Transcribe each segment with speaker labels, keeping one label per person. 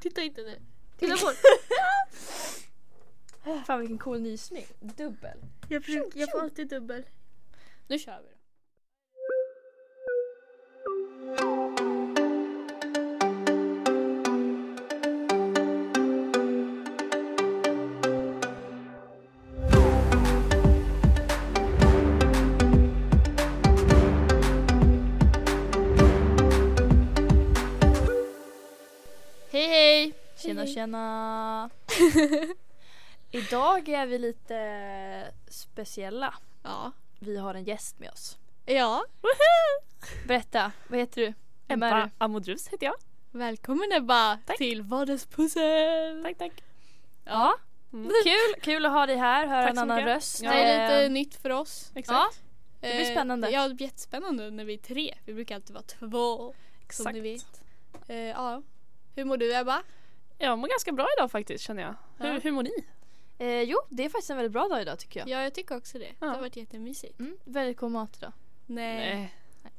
Speaker 1: Titta inte nu. Titta på
Speaker 2: Fan vilken cool nysning. Dubbel.
Speaker 1: jag, brukar, jag får alltid dubbel. Nu kör vi då. Hej hej!
Speaker 2: Tjena
Speaker 1: Hej, hej.
Speaker 2: tjena. Idag är vi lite speciella.
Speaker 1: Ja.
Speaker 2: Vi har en gäst med oss.
Speaker 1: Ja.
Speaker 2: Berätta, vad heter du? Vem är
Speaker 3: Ebba
Speaker 2: du?
Speaker 3: Amodrus heter jag.
Speaker 1: Välkommen Ebba
Speaker 3: Tack.
Speaker 1: till
Speaker 2: Ehm,
Speaker 1: vardagspussel!
Speaker 3: Tack, tack.
Speaker 2: Ja.
Speaker 3: Mm.
Speaker 2: Kul, kul att ha dig här, höra
Speaker 3: Tack
Speaker 2: en
Speaker 3: så
Speaker 2: annan
Speaker 3: mycket.
Speaker 2: röst.
Speaker 1: Det är
Speaker 2: Eh,
Speaker 1: lite nytt för oss.
Speaker 2: Ja,
Speaker 3: Exakt.
Speaker 1: Det
Speaker 2: blir spännande.
Speaker 1: Ja, det blir jättespännande när vi är tre. Vi brukar alltid vara två. Som
Speaker 3: exakt.
Speaker 1: ni vet. Eh, ja. Hur mår du Ebba?
Speaker 3: Jag mår ganska bra idag faktiskt känner jag.
Speaker 1: Ja.
Speaker 3: Hur, hur mår ni?
Speaker 2: eh, jo, det är faktiskt en väldigt bra dag idag tycker jag.
Speaker 1: Ja, jag tycker också det. Det
Speaker 3: Ja.
Speaker 1: har varit jättemysigt.
Speaker 2: Mm, väldigt god mat idag.
Speaker 1: Nej.
Speaker 3: Nej.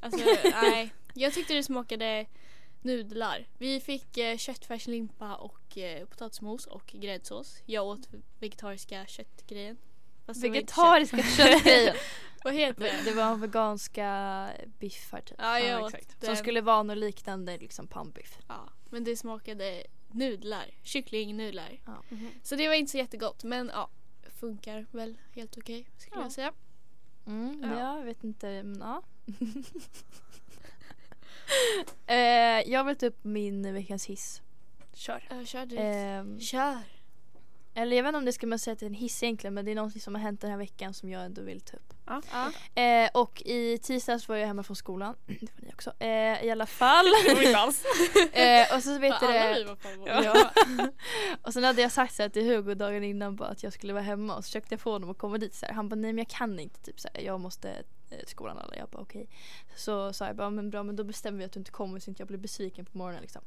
Speaker 1: Alltså, nej. Jag tyckte det smakade nudlar. Vi fick eh, köttfärslimpa och eh, potatismos och gräddsås. Jag åt vegetariska köttgrejen. Fast det var inte
Speaker 2: Vegetariska köttgrejer.
Speaker 1: kött. Vad heter det?
Speaker 2: Det var veganska biffar typ.
Speaker 1: Ja, jag
Speaker 3: Ja,
Speaker 1: åt
Speaker 3: exakt.
Speaker 1: den.
Speaker 2: Som skulle vara något liknande liksom pannbiff.
Speaker 1: Ja, men det smakade nudlar. Kycklingnudlar.
Speaker 2: Ja.
Speaker 3: Mhm.
Speaker 1: Så det var inte så jättegott men ja, funkar väl helt okej skulle
Speaker 3: Ja.
Speaker 1: jag säga.
Speaker 2: Mm,
Speaker 3: Ja.
Speaker 2: ja. Jag vet inte, men ja. eh, jag har valt upp min veckans hiss.
Speaker 3: Kör.
Speaker 1: Jag kör direkt.
Speaker 2: Ehm,
Speaker 1: Kör!
Speaker 2: eller jag vet inte om det ska man säga att det är en hiss egentligen men det är någonting som har hänt den här veckan som jag ändå vill ta upp.
Speaker 3: Ja.
Speaker 1: Ja.
Speaker 2: Eh, och i tisdags var jag hemma från skolan. Det var ni också. Eh, I alla fall.
Speaker 3: Det var inte alls.
Speaker 2: eh, och så vet du
Speaker 1: alla vi
Speaker 2: det.
Speaker 1: var på
Speaker 2: Ja. och sen hade jag sagt så här till Hugo dagen innan bara att jag skulle vara hemma och så försökte jag få honom att komma dit så här. Han bara nej men jag kan inte typ så här. jag måste eh, skolan alla. Jag bara okej. Så sa jag bara men bra men då bestämmer vi att du inte kommer så inte jag blir besviken på morgonen liksom.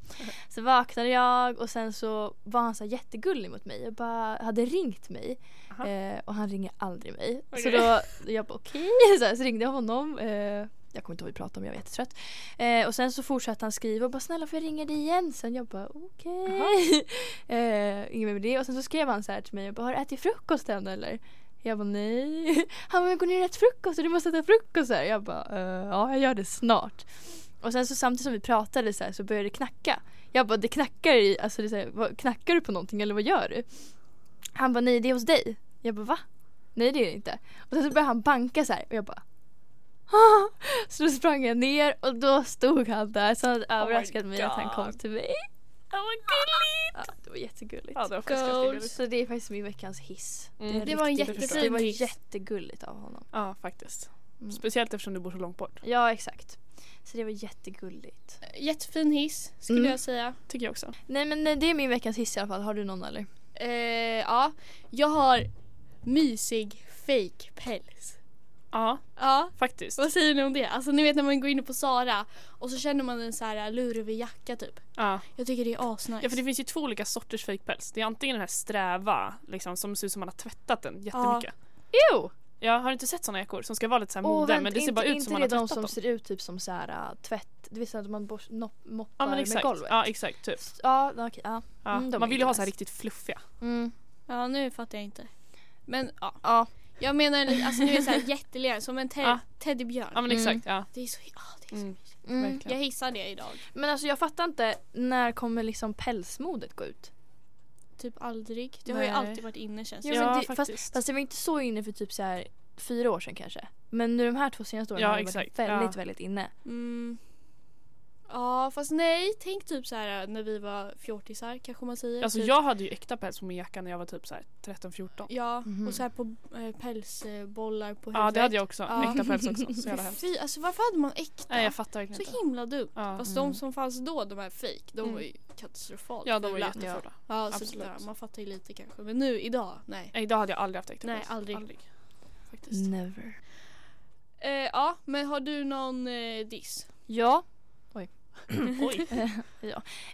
Speaker 2: Så vaknade jag och sen så var han så här jättegullig mot mig och bara hade ringt mig.
Speaker 3: Aha.
Speaker 2: Eh, och han ringer aldrig mig. Så
Speaker 3: Okej.
Speaker 2: då jag bara okej. Så, här, så ringde jag honom. Eh, jag kommer inte ihåg vad vi pratade om, jag var jättetrött. Eh, och sen så fortsatte han skriva och bara snälla får jag ringa dig igen sen? Jag bara okej. eh, inget mer med det. Och sen så skrev han så här till mig jag bara har du ätit frukost än eller? Jag bara nej. Han bara men gå ner och ät frukost och du måste äta frukost. Så här. Jag bara eh, ja jag gör det snart. Och sen så samtidigt som vi pratade så här så började det knacka. Jag bara det knackar i, alltså det är så här, vad, knackar du på någonting eller vad gör du? Han bara nej det är hos dig. Jag bara va? Nej det är det inte. Och sen så började han banka så här och jag bara "Ah." Så då sprang jag ner och då stod han där så han överraskade mig att han kom
Speaker 3: Oh God.
Speaker 2: till mig.
Speaker 3: Ja, vad gulligt.
Speaker 2: Ja, det var jättegulligt.
Speaker 3: Ja, det var faktiskt ganska gulligt.
Speaker 2: Så det är faktiskt min veckans hiss.
Speaker 3: Mm.
Speaker 2: är
Speaker 1: Det var en
Speaker 2: riktigt-
Speaker 1: jättefin
Speaker 2: Det var
Speaker 1: hiss.
Speaker 2: jättegulligt av honom.
Speaker 3: Ja, faktiskt.
Speaker 2: Mm.
Speaker 3: Speciellt eftersom du bor så långt bort.
Speaker 2: Ja exakt. Så det var jättegulligt.
Speaker 1: Jättefin hiss skulle
Speaker 2: Mm.
Speaker 1: jag säga.
Speaker 3: Tycker jag också.
Speaker 2: Nej men eh, det är min veckans hiss i alla fall. Har du någon eller?
Speaker 1: Eh, ja, jag har mysig fake päls.
Speaker 3: Ja,
Speaker 1: Ja,
Speaker 3: faktiskt.
Speaker 1: vad säger ni om det? Alltså ni vet när man går in på Sara och så känner man en så här lurvig jacka typ.
Speaker 3: Ja.
Speaker 1: Jag tycker det är asnice.
Speaker 3: ja, för det finns ju två olika sorters fejkpäls. Det är antingen den här sträva, liksom, som ser ut som man har tvättat den jättemycket.
Speaker 2: Jo!
Speaker 3: Jag har du inte sett sådana jackor som ska vara lite så här
Speaker 2: Åh,
Speaker 3: mode,
Speaker 2: vänta,
Speaker 3: men det ser bara
Speaker 2: inte,
Speaker 3: ut som
Speaker 2: inte
Speaker 3: man har
Speaker 2: det de
Speaker 3: tvättat
Speaker 2: som
Speaker 3: dem.
Speaker 2: ser ut typ som så här äh, tvätt, det vill säga att man borst, nopp, moppar
Speaker 3: Ja, men
Speaker 2: med
Speaker 3: exakt.
Speaker 2: golvet.
Speaker 3: Ja, exakt. Typ.
Speaker 2: S- Ja, okej. Ja.
Speaker 3: Ja.
Speaker 2: Mm, de
Speaker 3: man
Speaker 2: är
Speaker 3: vill ju ha
Speaker 2: nice.
Speaker 3: så här riktigt fluffiga.
Speaker 2: Mm.
Speaker 1: Ja, nu fattar jag inte. Men ja,
Speaker 2: ja.
Speaker 1: jag menar li- alltså nu är så här jättelera som en te-
Speaker 3: Ja.
Speaker 1: teddybjörn.
Speaker 3: Ja, men
Speaker 2: Mm.
Speaker 3: exakt. Ja.
Speaker 1: Det är så, ah, det är så
Speaker 3: Mm.
Speaker 1: mysigt.
Speaker 2: Mm.
Speaker 3: Verkligen.
Speaker 1: Jag hissar det idag.
Speaker 2: Men alltså jag fattar inte, när kommer liksom pälsmodet gå ut?
Speaker 1: Typ aldrig. Det har ju
Speaker 2: Nej.
Speaker 1: alltid varit inne känns det
Speaker 3: Ja,
Speaker 2: men det, fast,
Speaker 3: faktiskt.
Speaker 2: fast det var inte så inne för typ så här fyra år sedan kanske. Men nu de här två senaste åren
Speaker 3: Ja,
Speaker 2: har det varit
Speaker 3: exakt.
Speaker 2: väldigt,
Speaker 3: Ja.
Speaker 2: väldigt inne.
Speaker 1: Mm. Ja fast nej, tänk typ så här när vi var fjortisar kanske man säger.
Speaker 3: Alltså
Speaker 1: typ.
Speaker 3: jag hade ju äkta päls på min jacka när jag var typ så här 13-14.
Speaker 1: Ja
Speaker 2: Mhm.
Speaker 1: och så här på eh, pälsbollar på huvudet.
Speaker 3: Ja det hade jag också,
Speaker 1: Ja.
Speaker 3: äkta päls också. Så jävla hemskt.
Speaker 1: Fy, alltså varför hade man äkta?
Speaker 3: Nej jag fattar verkligen inte.
Speaker 1: så himla dumt.
Speaker 3: Ja.
Speaker 1: Fast
Speaker 2: Mm.
Speaker 1: de som fanns då, de här fake, de
Speaker 3: Mm.
Speaker 1: var ju katastrofalt
Speaker 3: Ja de var
Speaker 1: fula.
Speaker 3: jättefula.
Speaker 1: Ja, så
Speaker 3: Absolut.
Speaker 1: där, man fattar ju lite kanske. Men nu idag, nej.
Speaker 3: Nej idag hade jag aldrig haft äkta
Speaker 1: Nej,
Speaker 3: päls.
Speaker 1: aldrig.
Speaker 3: Faktiskt.
Speaker 2: Never.
Speaker 1: Eh, ja, men har du någon eh, diss?
Speaker 2: Ja,
Speaker 3: Oj.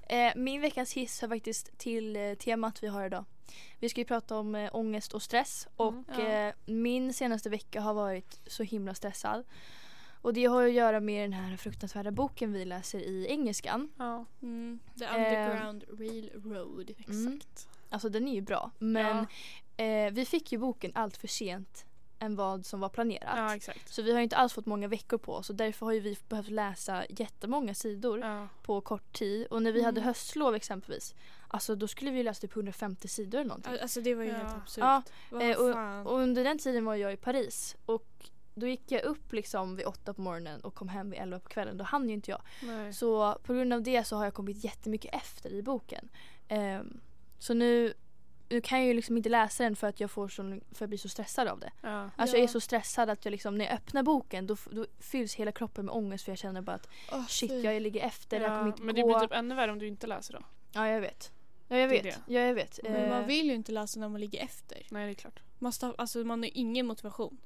Speaker 2: eh, min veckans hiss har faktiskt till eh, temat vi har idag. Vi ska ju prata om eh, ångest och stress och
Speaker 1: Ja.
Speaker 2: eh, min senaste vecka har varit så himla stressad. Och det har ju att göra med den här fruktansvärda boken vi läser i engelskan.
Speaker 3: Ja.
Speaker 1: Mm. The
Speaker 2: Eh.
Speaker 1: Underground Railroad.
Speaker 2: Mm.
Speaker 3: Exakt.
Speaker 2: Alltså den är ju bra men eh, vi fick ju boken allt för sent än vad som var planerat.
Speaker 3: Ja, ja exakt.
Speaker 2: Så vi har ju inte alls fått många veckor på oss och därför har ju vi behövt läsa jättemånga sidor
Speaker 3: Ja.
Speaker 2: på kort tid. Och när vi hade
Speaker 1: Mm.
Speaker 2: höstlov exempelvis, alltså då skulle vi ju läsa typ 150 sidor eller någonting.
Speaker 1: Al- Alltså det var ju
Speaker 3: Ja. typ.
Speaker 1: helt absurt.
Speaker 2: Ja,
Speaker 1: Vad
Speaker 2: eh,
Speaker 1: fan.
Speaker 2: Och under den tiden var jag i Paris och då gick jag upp liksom vid åtta på morgonen och kom hem vid elva på kvällen. Då hann ju inte jag.
Speaker 3: Nej.
Speaker 2: Så på grund av det så har jag kommit jättemycket efter i boken. Ehm, så nu, nu kan jag ju liksom inte läsa den för att jag, får så, för jag blir så stressad av det.
Speaker 3: Ja.
Speaker 2: Alltså
Speaker 1: Ja.
Speaker 2: jag är så stressad att jag liksom, när jag öppnar boken då, f- då fylls hela kroppen med ångest för jag känner bara att
Speaker 1: Åh, fy.
Speaker 2: shit jag ligger efter, det här
Speaker 3: Alltså, Ja,
Speaker 2: kommer inte
Speaker 3: men
Speaker 2: gå.
Speaker 3: det blir typ ännu värre om du inte läser då.
Speaker 2: Ja jag vet. Ja jag
Speaker 3: Det är
Speaker 2: vet.
Speaker 3: det.
Speaker 2: Ja, jag vet.
Speaker 1: Men man
Speaker 2: Eh,
Speaker 1: vill ju inte läsa när man ligger efter.
Speaker 3: Nej, det är klart.
Speaker 1: Man, stav, alltså, man har ingen motivation.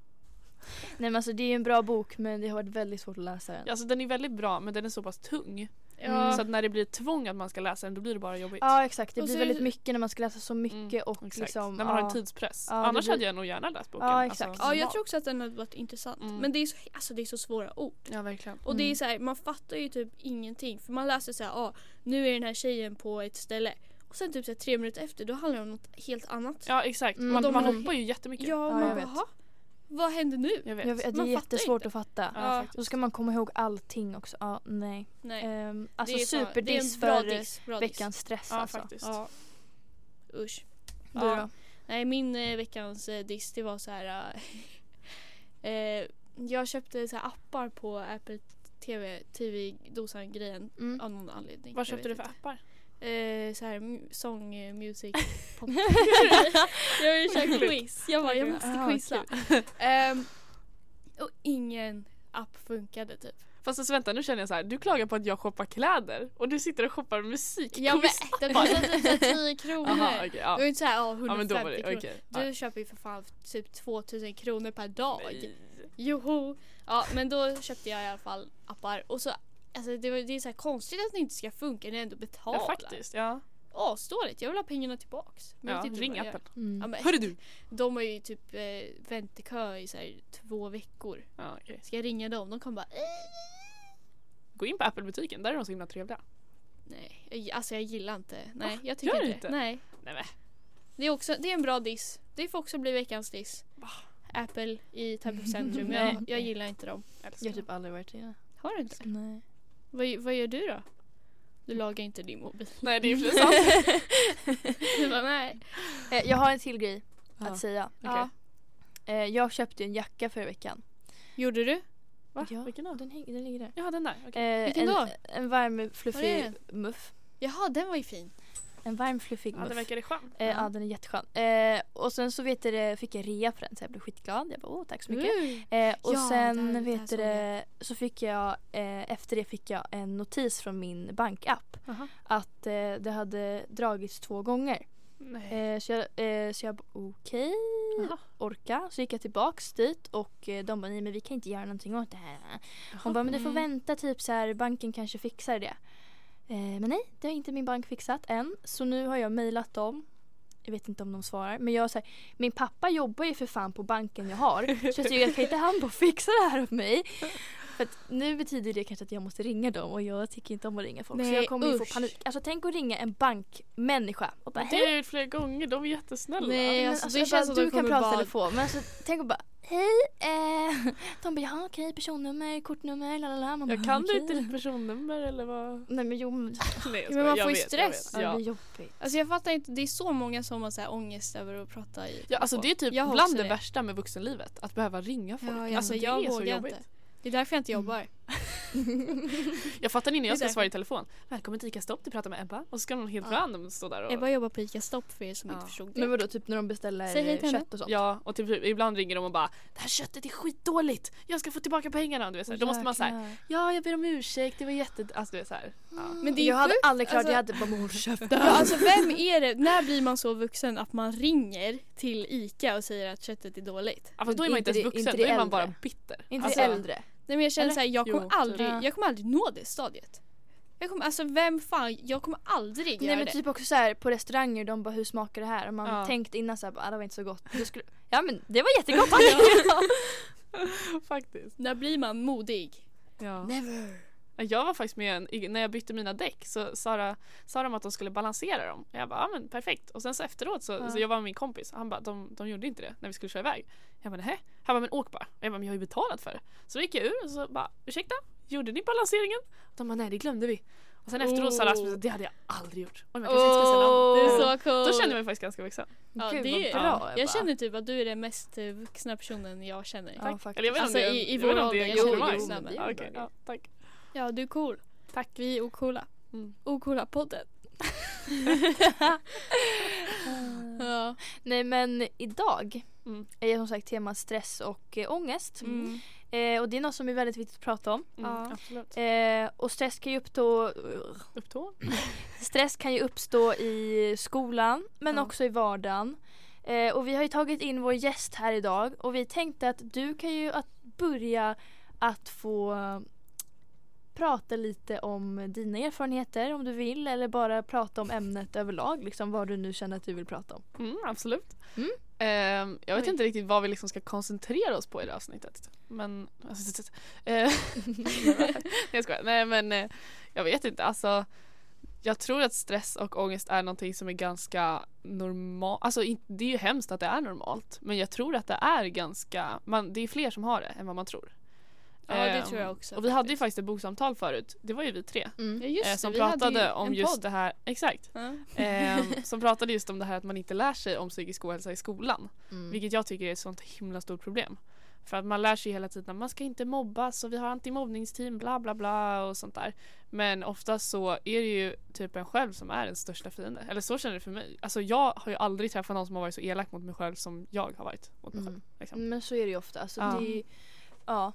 Speaker 2: Nej men alltså det är ju en bra bok men det har varit väldigt svårt att läsa den.
Speaker 3: Ja, Alltså den är väldigt bra men den är så pass tung. Mm.
Speaker 2: Ja.
Speaker 3: Så att när det blir ett tvång att man ska läsa den då blir det bara jobbigt.
Speaker 2: Ja exakt, det
Speaker 1: Och
Speaker 2: blir
Speaker 1: så är
Speaker 2: väldigt
Speaker 1: det-
Speaker 2: mycket när man ska läsa så mycket
Speaker 3: Mm,
Speaker 2: och
Speaker 3: Exakt.
Speaker 2: liksom
Speaker 3: när man har
Speaker 2: ja.
Speaker 3: en tidspress.
Speaker 2: Ja, det
Speaker 3: Annars
Speaker 2: blir-
Speaker 3: hade jag nog gärna läst boken. Alltså,
Speaker 2: Ja, exakt.
Speaker 1: Ja, jag
Speaker 3: normalt.
Speaker 1: tror också att den hade varit intressant.
Speaker 3: Mm.
Speaker 1: Men det är, så, alltså, det är så svåra ord.
Speaker 3: Ja verkligen.
Speaker 1: Och det är
Speaker 2: Mm.
Speaker 1: så här, man fattar ju typ ingenting. För man läser så här, ah, nu är den här tjejen på ett ställe. Och sen typ så här, tre minuter efter, då handlar det om något helt annat.
Speaker 3: Ja exakt.
Speaker 2: Mm,
Speaker 3: man,
Speaker 1: de
Speaker 3: man
Speaker 1: har-
Speaker 3: hoppar ju jättemycket.
Speaker 1: Ja,
Speaker 2: Ja,
Speaker 1: man
Speaker 2: jag
Speaker 1: bara,
Speaker 2: vet.
Speaker 1: "Jaha, vad hände nu?
Speaker 3: Jag vet.
Speaker 2: Jag vet, det
Speaker 1: Man
Speaker 2: är
Speaker 1: fattar
Speaker 2: jättesvårt
Speaker 1: inte.
Speaker 2: att fatta.
Speaker 3: Ja,
Speaker 1: Ja.
Speaker 3: faktiskt.
Speaker 2: Då ska man komma ihåg allting också. Ja, nej.
Speaker 1: Nej.
Speaker 2: Ehm, alltså
Speaker 1: det är fan-
Speaker 2: superdiss
Speaker 1: det är en
Speaker 2: för
Speaker 1: bra diss, bra diss.
Speaker 2: veckans stress
Speaker 3: Ja
Speaker 2: alltså.
Speaker 3: faktiskt.
Speaker 1: Ja. Usch.
Speaker 2: Du
Speaker 1: Ja.
Speaker 2: då?
Speaker 1: Nej, min eh, veckans eh, diss det var så här. eh, eh, jag köpte så här appar på Apple TV, TV-dosan grejen
Speaker 2: Mm.
Speaker 1: av någon anledning.
Speaker 3: Vad
Speaker 1: Jag
Speaker 3: köpte du
Speaker 1: vet
Speaker 3: för appar?
Speaker 1: inte. Eh, så här, mu- song, eh, music, pop. jag har ju kört quiz. Jag bara, jag måste
Speaker 3: Ah,
Speaker 1: quizza. Ehm, och ingen app funkade typ.
Speaker 3: Fast alltså, vänta nu känner jag så här. du klagar på att jag shoppar kläder och du sitter och shoppar musik.
Speaker 1: Ja men den kostade typ så här 10 kronor.
Speaker 3: Aha, okej,
Speaker 1: Det
Speaker 3: ja.
Speaker 1: var ju inte såhär ja,
Speaker 3: ja men
Speaker 1: 150
Speaker 3: då var det, okej.
Speaker 1: kronor. Du köper ju för fan typ 2000 kronor per
Speaker 3: ja.
Speaker 1: dag.
Speaker 3: Nej.
Speaker 1: Joho! Ja men då köpte jag i alla fall appar och så Alltså det, var, det är så här konstigt att det inte ska funka när jag ändå betalar.
Speaker 3: Ja faktiskt, ja.
Speaker 1: Asdåligt, jag vill ha pengarna tillbaks. Men jag
Speaker 3: ja
Speaker 1: vet inte
Speaker 3: ring
Speaker 1: vad jag gör.
Speaker 3: appen.
Speaker 2: Mm.
Speaker 1: Ja, men,
Speaker 3: Hörru du!
Speaker 1: de har ju typ eh, väntekö i så här, två veckor.
Speaker 3: Ja, okej.
Speaker 1: Ska jag ringa dem? De kommer bara eh.
Speaker 3: Gå in på Apple-butiken, där är de så himla trevliga.
Speaker 1: Nej, jag- alltså jag gillar inte. Nej, jag
Speaker 3: gör
Speaker 1: tycker
Speaker 3: du
Speaker 1: inte.
Speaker 3: inte?
Speaker 1: Nej.
Speaker 3: Nej, men.
Speaker 1: Det är, också, det är en bra diss. Det får också bli veckans diss.
Speaker 3: Va?
Speaker 1: Apple i Täby centrum.
Speaker 2: Nej.
Speaker 1: jag, jag gillar inte dem.
Speaker 3: Älskar
Speaker 2: Jag har
Speaker 3: dem.
Speaker 2: typ aldrig varit i
Speaker 1: Har du inte?
Speaker 2: Nej.
Speaker 1: Vad, vad gör du då? Du lagar inte din mobil.
Speaker 3: Nej det är ju sant.
Speaker 1: Du bara, nej.
Speaker 2: Eh, Jag har en till grej
Speaker 3: Ja.
Speaker 2: att säga.
Speaker 1: Ja.
Speaker 2: Eh, Jag köpte ju en jacka förra veckan.
Speaker 1: Gjorde du?
Speaker 3: Va?
Speaker 2: Ja.
Speaker 3: Vilken då?
Speaker 2: Den, häng, den ligger där.
Speaker 3: Ja den där, okej.
Speaker 2: Eh,
Speaker 1: Vilken
Speaker 2: en,
Speaker 1: då?
Speaker 2: En varm
Speaker 1: Var är
Speaker 2: fluffig muff.
Speaker 1: Jaha, den var ju fin.
Speaker 2: En varm fluffig
Speaker 3: Ja, det
Speaker 2: muff.
Speaker 3: verkar det skönt.
Speaker 2: Eh, ja, den är jätteskön. Eh, och sen så vet du, det, fick jag rea för den så jag blev skitglad. Jag bara åh tack så mycket.
Speaker 1: Mm.
Speaker 2: Eh, och
Speaker 1: Ja, det här- det här
Speaker 2: sen vet du,
Speaker 1: såg
Speaker 2: det, så fick jag eh, efter det fick jag en notis från min bankapp
Speaker 3: Aha.
Speaker 2: att eh, det hade dragits två gånger.
Speaker 3: Nej.
Speaker 1: Mm.
Speaker 2: Eh, så jag, eh, så jag bara, okej,
Speaker 3: Jaha.
Speaker 2: orka. Så gick jag tillbaks dit och eh, de bara nej men vi kan inte göra någonting åt det här. Hon
Speaker 3: Jaha.
Speaker 2: bara men du får
Speaker 1: Mm.
Speaker 2: vänta typ så här banken kanske fixar det. Eh, men nej det har inte min bank fixat än så nu har jag mejlat dem. Jag vet inte om de svarar men jag säger min pappa jobbar ju för fan på banken jag har så jag tycker jag kan inte han bara fixa det här åt mig. För att nu betyder det kanske att jag måste ringa dem och jag tycker inte om att ringa folk så
Speaker 1: Nej,
Speaker 2: jag kommer ju få
Speaker 1: usch.
Speaker 2: panik. Alltså tänk att ringa en bankmänniska och bara
Speaker 3: Det
Speaker 2: hej.
Speaker 3: har jag gjort flera gånger, de är jättesnälla.
Speaker 1: Nej.
Speaker 2: Men
Speaker 1: alltså, det
Speaker 2: jag
Speaker 1: känns
Speaker 2: bara,
Speaker 1: som de
Speaker 2: du kan
Speaker 1: kommer
Speaker 2: prata
Speaker 1: bara-
Speaker 2: telefon men alltså, tänk och bara hej. Eh. De bara ja okej personnummer, kortnummer, lalala. Man
Speaker 3: Jag
Speaker 2: bara,
Speaker 3: kan
Speaker 2: "Okej."
Speaker 3: du inte ditt personnummer eller vad?
Speaker 2: Nej men jo, men-
Speaker 3: Nej, jag
Speaker 1: men man
Speaker 3: skojar. Jag
Speaker 1: får ju
Speaker 3: vet, jag
Speaker 1: stress.
Speaker 2: ja.
Speaker 3: vet.
Speaker 2: det
Speaker 3: Ja.
Speaker 2: är jobbigt.
Speaker 1: Alltså jag fattar inte, det är så många som har så här ångest över att prata i
Speaker 3: Ja, alltså det är typ
Speaker 1: Jag har
Speaker 3: bland
Speaker 1: också
Speaker 3: det,
Speaker 1: det.
Speaker 3: värsta med vuxenlivet, att behöva ringa folk.
Speaker 1: Ja, jag,
Speaker 3: alltså,
Speaker 1: alltså,
Speaker 3: det
Speaker 1: jag
Speaker 3: är så
Speaker 1: vågar
Speaker 3: jobbigt.
Speaker 1: inte. Det är därför jag inte
Speaker 3: Mm.
Speaker 1: jobbar.
Speaker 3: Jag fattar inte när
Speaker 1: Det är
Speaker 3: jag ska
Speaker 1: därför.
Speaker 3: svara i telefon. Välkommen till ICA Stopp, du pratar med Ebba. Och så ska någon helt
Speaker 1: Ja.
Speaker 3: random stå där och...
Speaker 1: Ebba jobbar på ICA Stopp för er som
Speaker 3: Ja.
Speaker 1: inte förstod det.
Speaker 2: Men vadå, typ när de beställer
Speaker 1: Säg hej
Speaker 2: eh,
Speaker 1: till henne.
Speaker 2: kött och sånt?
Speaker 3: Ja, och typ, ibland ringer de och bara Det här köttet är skitdåligt, jag ska få tillbaka pengarna. Du vet, så här. Då måste man säga
Speaker 2: Jäklar.
Speaker 3: Ja, jag ber om ursäkt, det var jätte... Alltså det är så här. Ja.
Speaker 1: Men det är
Speaker 2: jag
Speaker 1: ju
Speaker 2: hade
Speaker 1: sjukt,
Speaker 2: aldrig klarat
Speaker 1: alltså-
Speaker 2: jag hade bara "Men käften.
Speaker 1: Ja, alltså vem är det, när blir man så vuxen att man ringer till ICA och säger att köttet är dåligt?
Speaker 3: Ja, fast då är man inte
Speaker 2: Inte
Speaker 3: ens
Speaker 2: det-
Speaker 3: vuxen,
Speaker 2: inte
Speaker 3: då
Speaker 2: det
Speaker 3: är man bara
Speaker 2: äldre.
Speaker 3: bitter.
Speaker 2: Inte
Speaker 3: alltså,
Speaker 2: det äldre.
Speaker 1: Nej men jag känner
Speaker 3: Eller?
Speaker 1: såhär, jag
Speaker 3: Jo,
Speaker 1: kommer
Speaker 3: typ.
Speaker 1: aldrig,
Speaker 2: Ja.
Speaker 1: jag kommer aldrig nå det stadiet. Jag kommer, alltså vem fan, jag kommer aldrig
Speaker 2: Nej
Speaker 1: göra
Speaker 2: men
Speaker 1: det.
Speaker 2: typ också såhär på restauranger, de bara hur smakar det här? Och man
Speaker 3: Ja.
Speaker 2: tänkt innan såhär, bara, "Ah, det var inte så gott. Då skulle... Ja men det var jättegott. ja.
Speaker 3: Faktiskt.
Speaker 1: När blir man modig?
Speaker 2: Ja.
Speaker 1: Never.
Speaker 3: Jag var faktiskt med en, i- när jag bytte mina däck så sa, de- sa de att de skulle balansera dem. Och jag bara, ja men perfekt. Och sen så efteråt så,
Speaker 2: Ja.
Speaker 3: så jag var med min kompis han bara, de, de gjorde inte det när vi skulle köra iväg. Jag bara, nähä? Han bara, men åk bara. Och jag bara, men jag har ju betalat för det. Så gick jag ur och så bara, ursäkta? Gjorde ni balanseringen? De bara, nej det glömde vi. Och sen efteråt sa
Speaker 1: Oh.
Speaker 3: Rasmus, det hade jag aldrig gjort. Och jag kanske inte ska ställa om.
Speaker 1: Det är
Speaker 2: Oh.
Speaker 1: så coolt.
Speaker 3: Då kände jag mig faktiskt ganska vuxen.
Speaker 1: Ja,
Speaker 2: Gud,
Speaker 1: det är-
Speaker 2: vad bra Ebba.
Speaker 1: jag känner typ att du är den mest eh, vuxna personen jag känner.
Speaker 2: Ja, faktiskt.
Speaker 3: Eller jag vet inte
Speaker 1: Alltså,
Speaker 3: om
Speaker 1: i-
Speaker 3: det,
Speaker 1: i
Speaker 3: jag vet inte
Speaker 1: vår
Speaker 3: om det är
Speaker 1: ålder,
Speaker 2: jo,
Speaker 3: engagemang.
Speaker 2: jo, men det är
Speaker 3: Ja,
Speaker 2: väl
Speaker 3: okej,
Speaker 2: bra
Speaker 3: ja, tack.
Speaker 1: Ja, du är cool.
Speaker 3: Tack.
Speaker 1: Vi är ocoola.
Speaker 3: Mm.
Speaker 1: Ocoola-podden. ja.
Speaker 2: Nej men idag
Speaker 3: Mm.
Speaker 2: är det som sagt tema stress och eh, ångest.
Speaker 1: Mm.
Speaker 2: Eh, och det är något som är väldigt viktigt att prata om.
Speaker 3: Mm,
Speaker 1: Ja.
Speaker 3: Absolut.
Speaker 2: Eh, och stress kan ju uppstå,
Speaker 3: Upp tån.
Speaker 2: stress kan ju uppstå i skolan men
Speaker 3: Ja.
Speaker 2: också i vardagen. Eh, och vi har ju tagit in vår gäst här idag och vi tänkte att du kan ju att börja att få prata lite om dina erfarenheter om du vill eller bara prata om ämnet överlag, liksom vad du nu känner att du vill prata om.
Speaker 3: Mm, absolut.
Speaker 2: Mm.
Speaker 3: Ehm, jag vet
Speaker 1: Oj.
Speaker 3: inte riktigt vad vi liksom ska koncentrera oss på i det här avsnittet. Men, alltså, eh, nej, jag skojar. Nej men eh, jag vet inte. Alltså, jag tror att stress och ångest är någonting som är ganska normalt. Alltså in- det är ju hemskt att det är normalt. Men jag tror att det är ganska, man, det är fler som har det än vad man tror.
Speaker 1: ja, det
Speaker 3: Ehm,
Speaker 1: tror jag också.
Speaker 3: Och vi hade ju faktiskt ett boksamtal förut. Det var ju vi tre.
Speaker 1: Ja, just
Speaker 3: eh,
Speaker 1: det,
Speaker 3: som
Speaker 1: vi hade ju
Speaker 3: pratade om
Speaker 1: en
Speaker 3: just
Speaker 1: podd.
Speaker 3: det här. Exakt.
Speaker 1: Ja.
Speaker 3: Ehm, som pratade just om det här att man inte lär sig om psykisk ohälsa i skolan.
Speaker 2: Mm.
Speaker 3: Vilket jag tycker är ett sånt himla stort problem. För att man lär sig hela tiden att man ska inte mobbas och vi har antimobbningsteam bla bla bla och sånt där. Men ofta så är det ju typ en själv som är den största fienden. Eller så känner det för mig. Alltså jag har ju aldrig träffat någon som har varit så elak mot mig själv som jag har varit mot mig själv.
Speaker 2: Mm.
Speaker 3: Liksom.
Speaker 2: Men så är det ju ofta. Alltså,
Speaker 3: Ja.
Speaker 2: det är ju, ja.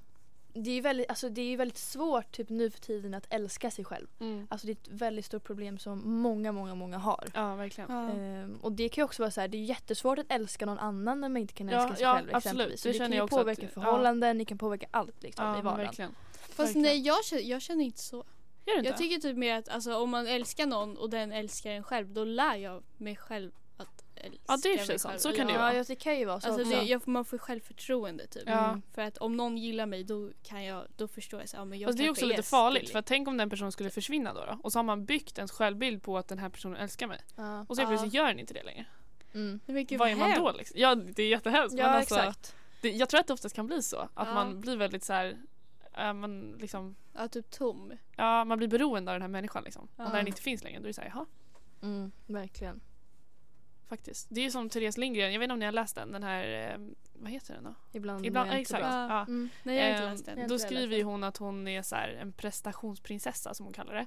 Speaker 2: Det är ju väldigt, alltså, det är ju väldigt svårt typ, nu för tiden att älska sig själv.
Speaker 3: Mm.
Speaker 2: Alltså, det är ett väldigt stort problem som många, många, många har.
Speaker 3: Ja verkligen.
Speaker 1: Ja.
Speaker 2: Ehm, och det kan ju också vara så här, det är jättesvårt att älska någon annan när man inte kan
Speaker 3: Ja,
Speaker 2: älska sig
Speaker 3: ja,
Speaker 2: själv
Speaker 3: absolut.
Speaker 2: exempelvis. Så
Speaker 3: Det
Speaker 2: det, kan
Speaker 3: känner
Speaker 2: ju
Speaker 3: jag också
Speaker 2: påverka
Speaker 3: att- ja.
Speaker 2: förhållanden, det kan påverka allt liksom,
Speaker 3: Ja,
Speaker 2: i
Speaker 3: men
Speaker 2: vardagen.
Speaker 3: verkligen.
Speaker 1: Fast nej, jag, kä- jag känner inte så.
Speaker 3: Gör du inte?
Speaker 1: Jag tycker typ mer att alltså, om man älskar någon och den älskar en själv, då lär jag mig själv att älska
Speaker 3: Ja, det är i och för sig
Speaker 1: mig
Speaker 3: sant.
Speaker 1: själv.
Speaker 3: Så kan det ju
Speaker 2: Ja,
Speaker 3: vara.
Speaker 2: ja, det kan ju vara så
Speaker 1: Alltså,
Speaker 2: också.
Speaker 1: det, jag, man får självförtroende typ.
Speaker 3: Ja.
Speaker 2: Mm.
Speaker 1: För att om någon gillar mig då kan jag, då förstår jag så, ja, men jag
Speaker 3: Fast det är
Speaker 1: kanske
Speaker 3: också lite
Speaker 1: störlig.
Speaker 3: farligt för att tänk om den personen skulle försvinna då, då och så har man byggt ens självbild på att den här personen älskar mig
Speaker 2: Ja.
Speaker 3: och så
Speaker 1: Ja.
Speaker 3: plötsligt gör den inte det längre.
Speaker 2: Mm.
Speaker 1: Nej, men gud,
Speaker 3: vad är man då
Speaker 1: hemskt.
Speaker 3: liksom? Ja det är jättehemskt
Speaker 2: ja
Speaker 3: men alltså,
Speaker 2: exakt.
Speaker 3: det, jag tror att det oftast kan bli så att
Speaker 1: Ja.
Speaker 3: man blir väldigt så här, äh, man liksom
Speaker 1: Ja, typ tom.
Speaker 3: Ja, man blir beroende av den här människan liksom.
Speaker 1: Ja.
Speaker 3: Och när den inte finns längre då är det såhär, jaha,
Speaker 2: Mm, verkligen.
Speaker 3: faktiskt. Det är ju som Therese Lindgren, jag vet inte om ni har läst den, den här, eh, vad heter den då?
Speaker 1: Mm,
Speaker 2: Ibland,
Speaker 3: Ibland,
Speaker 2: mår jag inte
Speaker 3: exakt.
Speaker 2: bra.
Speaker 1: bra.
Speaker 3: Ja.
Speaker 2: Mm.
Speaker 1: Nej, jag har inte
Speaker 3: Ehm,
Speaker 1: läst den.
Speaker 2: Jag har
Speaker 3: Då
Speaker 2: inte heller
Speaker 3: skriver
Speaker 2: läst
Speaker 3: ju hon att hon är så här, en prestationsprinsessa som hon kallar det.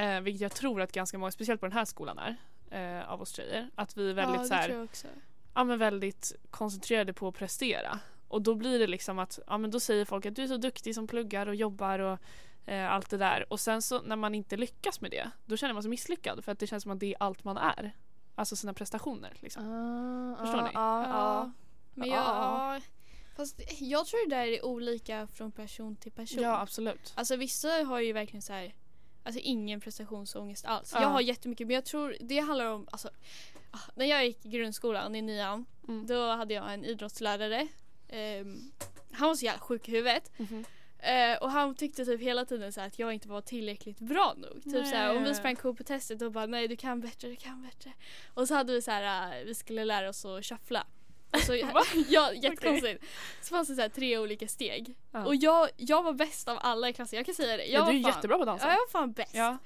Speaker 3: Eh, vilket jag tror att ganska många, speciellt på den här skolan är, eh, av oss tjejer. Att vi är väldigt,
Speaker 1: ja,
Speaker 3: så
Speaker 1: det
Speaker 3: här,
Speaker 1: tror jag också.
Speaker 3: ja, men väldigt koncentrerade på att prestera. Och då blir det liksom att, ja men då säger folk att du är så duktig som pluggar och jobbar och eh, allt det där. Och sen så när man inte lyckas med det, då känner man sig misslyckad för att det känns som att det är allt man är. Alltså sina prestationer liksom.
Speaker 2: Ah,
Speaker 3: Förstår
Speaker 2: ah,
Speaker 3: ni?
Speaker 2: ah, ah.
Speaker 1: Men
Speaker 2: Ja,
Speaker 1: jag,
Speaker 2: ja.
Speaker 1: ja. Fast jag tror det där är olika från person till person.
Speaker 3: Ja absolut.
Speaker 1: Alltså vissa har ju verkligen så här, alltså ingen prestationsångest alls.
Speaker 3: Ja.
Speaker 1: Jag har jättemycket men jag tror det handlar om, alltså, ah, när jag gick i grundskolan i nian
Speaker 3: Mm.
Speaker 1: då hade jag en idrottslärare. Ehm, han var så jävla sjuk i huvudet
Speaker 3: Mhm.
Speaker 1: Eh, och han tyckte typ hela tiden så här att jag inte var tillräckligt bra nog. Typ så här, om vi
Speaker 3: Nej.
Speaker 1: sprang ko på testet då bara nej du kan bättre, du kan bättre. Och så hade vi så här, eh, vi skulle lära oss att shuffla. Och så, ja, jättekonstigt. Så fanns det så här tre olika steg.
Speaker 3: Ja.
Speaker 1: Och jag, jag var bäst av alla i klassen, jag kan säga det. Jag
Speaker 3: Ja, du är
Speaker 1: var fan,
Speaker 3: jättebra på att
Speaker 1: Ja, jag
Speaker 3: dansa.
Speaker 1: var fan bäst.
Speaker 3: Ja.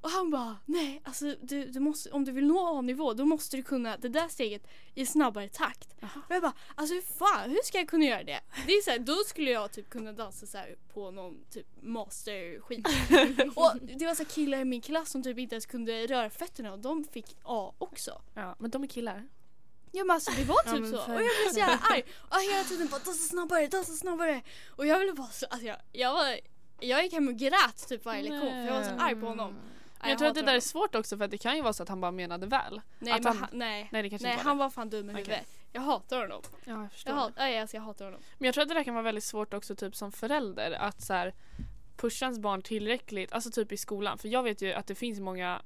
Speaker 1: Och han bara, nej alltså du, du måste, om du vill nå A-nivå då måste du kunna det där steget i snabbare takt.
Speaker 3: Jaha.
Speaker 1: Och jag bara, alltså hur fan, hur ska jag kunna göra det? Det är så här, då skulle jag typ kunna dansa så här på någon typ masterskit. och det var så här killar i min klass som typ inte ens kunde röra fötterna och de fick A också.
Speaker 3: Ja, men de är killar.
Speaker 1: Ja men alltså det var
Speaker 2: Ja,
Speaker 1: typ
Speaker 2: men
Speaker 1: så.
Speaker 2: för-
Speaker 1: Och jag blev så jävla arg. Och hela tiden bara dansa snabbare, dansa snabbare. Och jag ville bara så, alltså jag, jag var, jag gick hem och grät typ varje lektion för jag var så arg på honom.
Speaker 3: Men jag tror att det
Speaker 1: hatar
Speaker 3: där är
Speaker 1: honom.
Speaker 3: svårt också för att det kan ju vara så att han bara menade väl.
Speaker 1: Nej,
Speaker 3: att
Speaker 1: men
Speaker 3: han-
Speaker 1: han, nej.
Speaker 3: Nej det kanske
Speaker 1: Nej
Speaker 3: inte var
Speaker 1: han var fan dum i
Speaker 3: Okej.
Speaker 1: huvudet. Jag hatar honom.
Speaker 3: det. Ja, jag förstår.
Speaker 1: Jag, hat, nej, alltså, jag hatar honom.
Speaker 3: Men jag tror att det där kan vara väldigt svårt också typ som förälder att så här, pusha ens barn tillräckligt, alltså typ i skolan. För jag vet ju att det finns många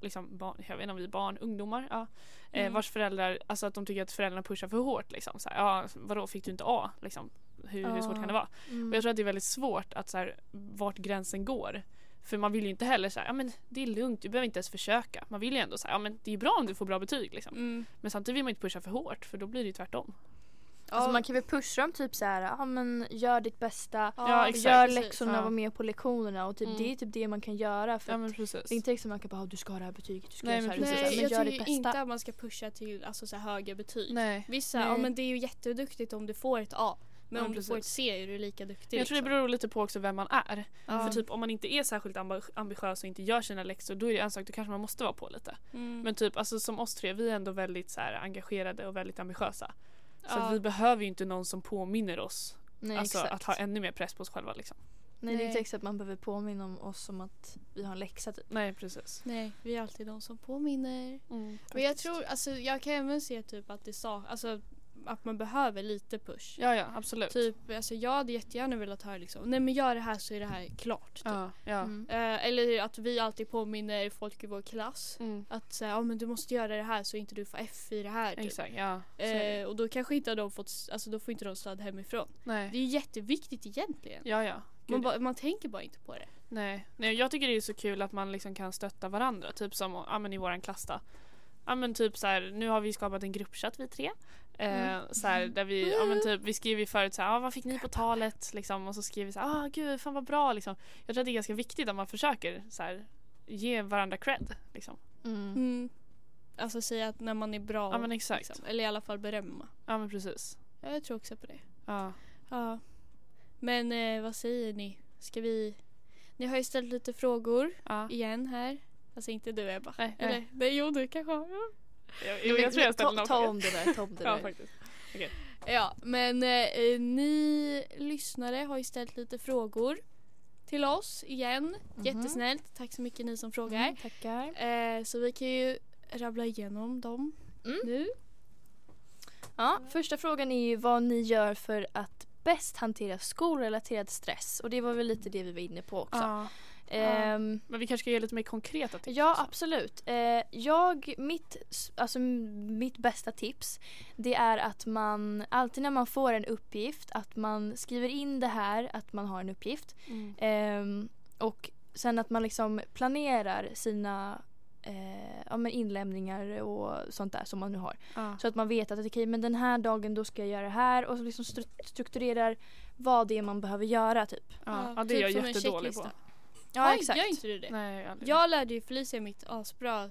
Speaker 3: liksom barn, jag vet inte om vi är barn, ungdomar, ja, eh,
Speaker 1: Mm.
Speaker 3: vars föräldrar, alltså att de tycker att föräldrarna pushar för hårt liksom. Så här, ja, vadå fick du inte A liksom? hur, hur svårt kan det
Speaker 2: Ja.
Speaker 3: vara?
Speaker 2: Mm.
Speaker 3: Och jag tror att det är väldigt svårt att så här, vart gränsen går. För man vill ju inte heller säga ja men det är lugnt, du behöver inte ens försöka. Man vill ju ändå säga ja men det är bra om du får bra betyg liksom.
Speaker 1: Mm.
Speaker 3: Men samtidigt vill man ju inte pusha för hårt för då blir det ju tvärtom.
Speaker 2: Alltså man kan väl pusha dem typ så här, ja men gör ditt bästa,
Speaker 3: Ja, exakt.
Speaker 2: gör
Speaker 1: precis.
Speaker 2: läxorna,
Speaker 3: Ja.
Speaker 2: var med på lektionerna och typ,
Speaker 3: Mm.
Speaker 2: det är typ det man kan göra. För
Speaker 3: Ja
Speaker 2: att
Speaker 3: men precis.
Speaker 2: Det är inte liksom man kan bara, "Ah, du ska ha det här betyget, du ska
Speaker 3: Nej,
Speaker 2: göra så här,
Speaker 3: men
Speaker 2: du ska
Speaker 1: Nej,
Speaker 2: göra så här", men gör
Speaker 1: jag
Speaker 2: ditt
Speaker 1: tycker
Speaker 2: bästa.
Speaker 1: inte att man ska pusha till alltså, så här, höga betyg.
Speaker 3: Nej.
Speaker 1: Vissa,
Speaker 2: Nej.
Speaker 1: ja men det är ju jätteduktigt om du får ett A. Men
Speaker 3: Ja,
Speaker 1: om du får ett
Speaker 3: precis.
Speaker 1: C är du lika duktig.
Speaker 3: Men jag tror det
Speaker 1: liksom.
Speaker 3: beror lite på också vem man är.
Speaker 1: Ja.
Speaker 3: För typ om man inte är särskilt ambi- ambitiös och inte gör sina läxor då är det en sak, då kanske man måste vara på lite.
Speaker 1: Mm.
Speaker 3: Men typ alltså, som oss tre, vi är ändå väldigt så här, engagerade och väldigt ambitiösa. Så
Speaker 1: Ja.
Speaker 3: att vi behöver ju inte någon som påminner oss.
Speaker 2: Nej,
Speaker 3: alltså
Speaker 2: exakt.
Speaker 3: att ha ännu mer press på oss själva liksom.
Speaker 2: Nej, det är inte
Speaker 1: Nej.
Speaker 2: exakt att man behöver påminna om oss om att vi har en läxa typ.
Speaker 3: Nej precis.
Speaker 1: Nej, vi är alltid de som påminner.
Speaker 3: Mm,
Speaker 1: Men jag tror, alltså jag kan även se typ att det sa, alltså att man behöver lite push.
Speaker 3: Ja, ja absolut.
Speaker 1: Typ, alltså jag hade jättegärna velat höra liksom, nej men gör det här så är det här klart. Typ.
Speaker 3: Ja, ja.
Speaker 2: Mm.
Speaker 1: Eh, eller att vi alltid påminner folk i vår
Speaker 3: Mm.
Speaker 1: klass. Att säga, ja men du måste göra det här så inte du får F i det här. Typ.
Speaker 3: Exakt, ja. Så är det.
Speaker 1: Eh, och då kanske inte de fått, alltså då får inte de stöd hemifrån. Det
Speaker 3: Nej.
Speaker 1: är ju jätteviktigt egentligen.
Speaker 3: Ja, ja.
Speaker 1: Man,
Speaker 3: Gud,
Speaker 1: ba, man tänker bara inte på det.
Speaker 3: Nej. Nej, jag tycker det är så kul att man liksom kan stötta varandra. Typ som ja, men i våran klass då. Ja, men typ så här, nu har vi skapat en gruppchatt vi tre. Eh, så här, där vi, ja, men typ, vi skrev ju förut så här, ah, vad fick ni på talet? Liksom, och så skrev vi så här, ah, gud fan vad bra. Liksom. Jag tror att det är ganska viktigt att man försöker så här, ge varandra cred. Liksom.
Speaker 2: Mm.
Speaker 1: Alltså säga att när man är bra.
Speaker 3: Ja men exakt.
Speaker 1: liksom, eller i alla fall berömma.
Speaker 3: Ja men precis.
Speaker 1: Ja, jag tror också på det.
Speaker 3: Ja.
Speaker 1: Ja. Men eh, vad säger ni? Ska vi... Ni har ju ställt lite frågor
Speaker 3: Ja.
Speaker 1: igen här. Alltså inte du Ebba.
Speaker 3: Nej,
Speaker 1: Eller,
Speaker 3: nej.
Speaker 1: nej jo du kanske har. ja.
Speaker 3: Jag, jag, jag tror jag ställde
Speaker 2: ta,
Speaker 3: någon
Speaker 2: ta
Speaker 3: fråga.
Speaker 2: om det där, ta om det
Speaker 3: Ja
Speaker 2: där.
Speaker 3: faktiskt.
Speaker 1: Ja men eh, ni lyssnare har ju ställt lite frågor till oss igen. Jättesnällt. Tack så mycket ni som frågar.
Speaker 2: Mhm. Mm, tackar.
Speaker 1: Eh, så vi kan ju rabbla igenom dem
Speaker 2: Mm.
Speaker 1: nu.
Speaker 2: Ja, första frågan är ju vad ni gör för att bäst hantera skolrelaterad stress och det var väl lite det vi var inne på också.
Speaker 3: Ja.
Speaker 2: Ehm,
Speaker 3: Men vi kanske ska ge lite mer konkreta tips.
Speaker 2: Ja
Speaker 3: också.
Speaker 2: absolut. Eh, jag, mitt, s- alltså, m- mitt bästa tips det är att man alltid när man får en uppgift att man skriver in det här att man har en uppgift
Speaker 3: Mm.
Speaker 2: Ehm, och sen att man liksom planerar sina eh, ja, men inlämningar och sånt där som man nu har.
Speaker 3: Ja.
Speaker 2: Så att man vet att okej men den här dagen då ska jag göra det här och så liksom stru- strukturerar vad det är man behöver göra typ.
Speaker 3: Ja,
Speaker 1: Ja,
Speaker 3: ja, det
Speaker 1: typ
Speaker 3: är
Speaker 1: som
Speaker 3: jag
Speaker 1: en
Speaker 3: jättedålig på.
Speaker 1: checklista.
Speaker 2: Ja
Speaker 1: Oj,
Speaker 2: exakt.
Speaker 1: Gör inte du det?
Speaker 3: Nej, aldrig.
Speaker 1: Jag lärde ju Felicia mitt asbra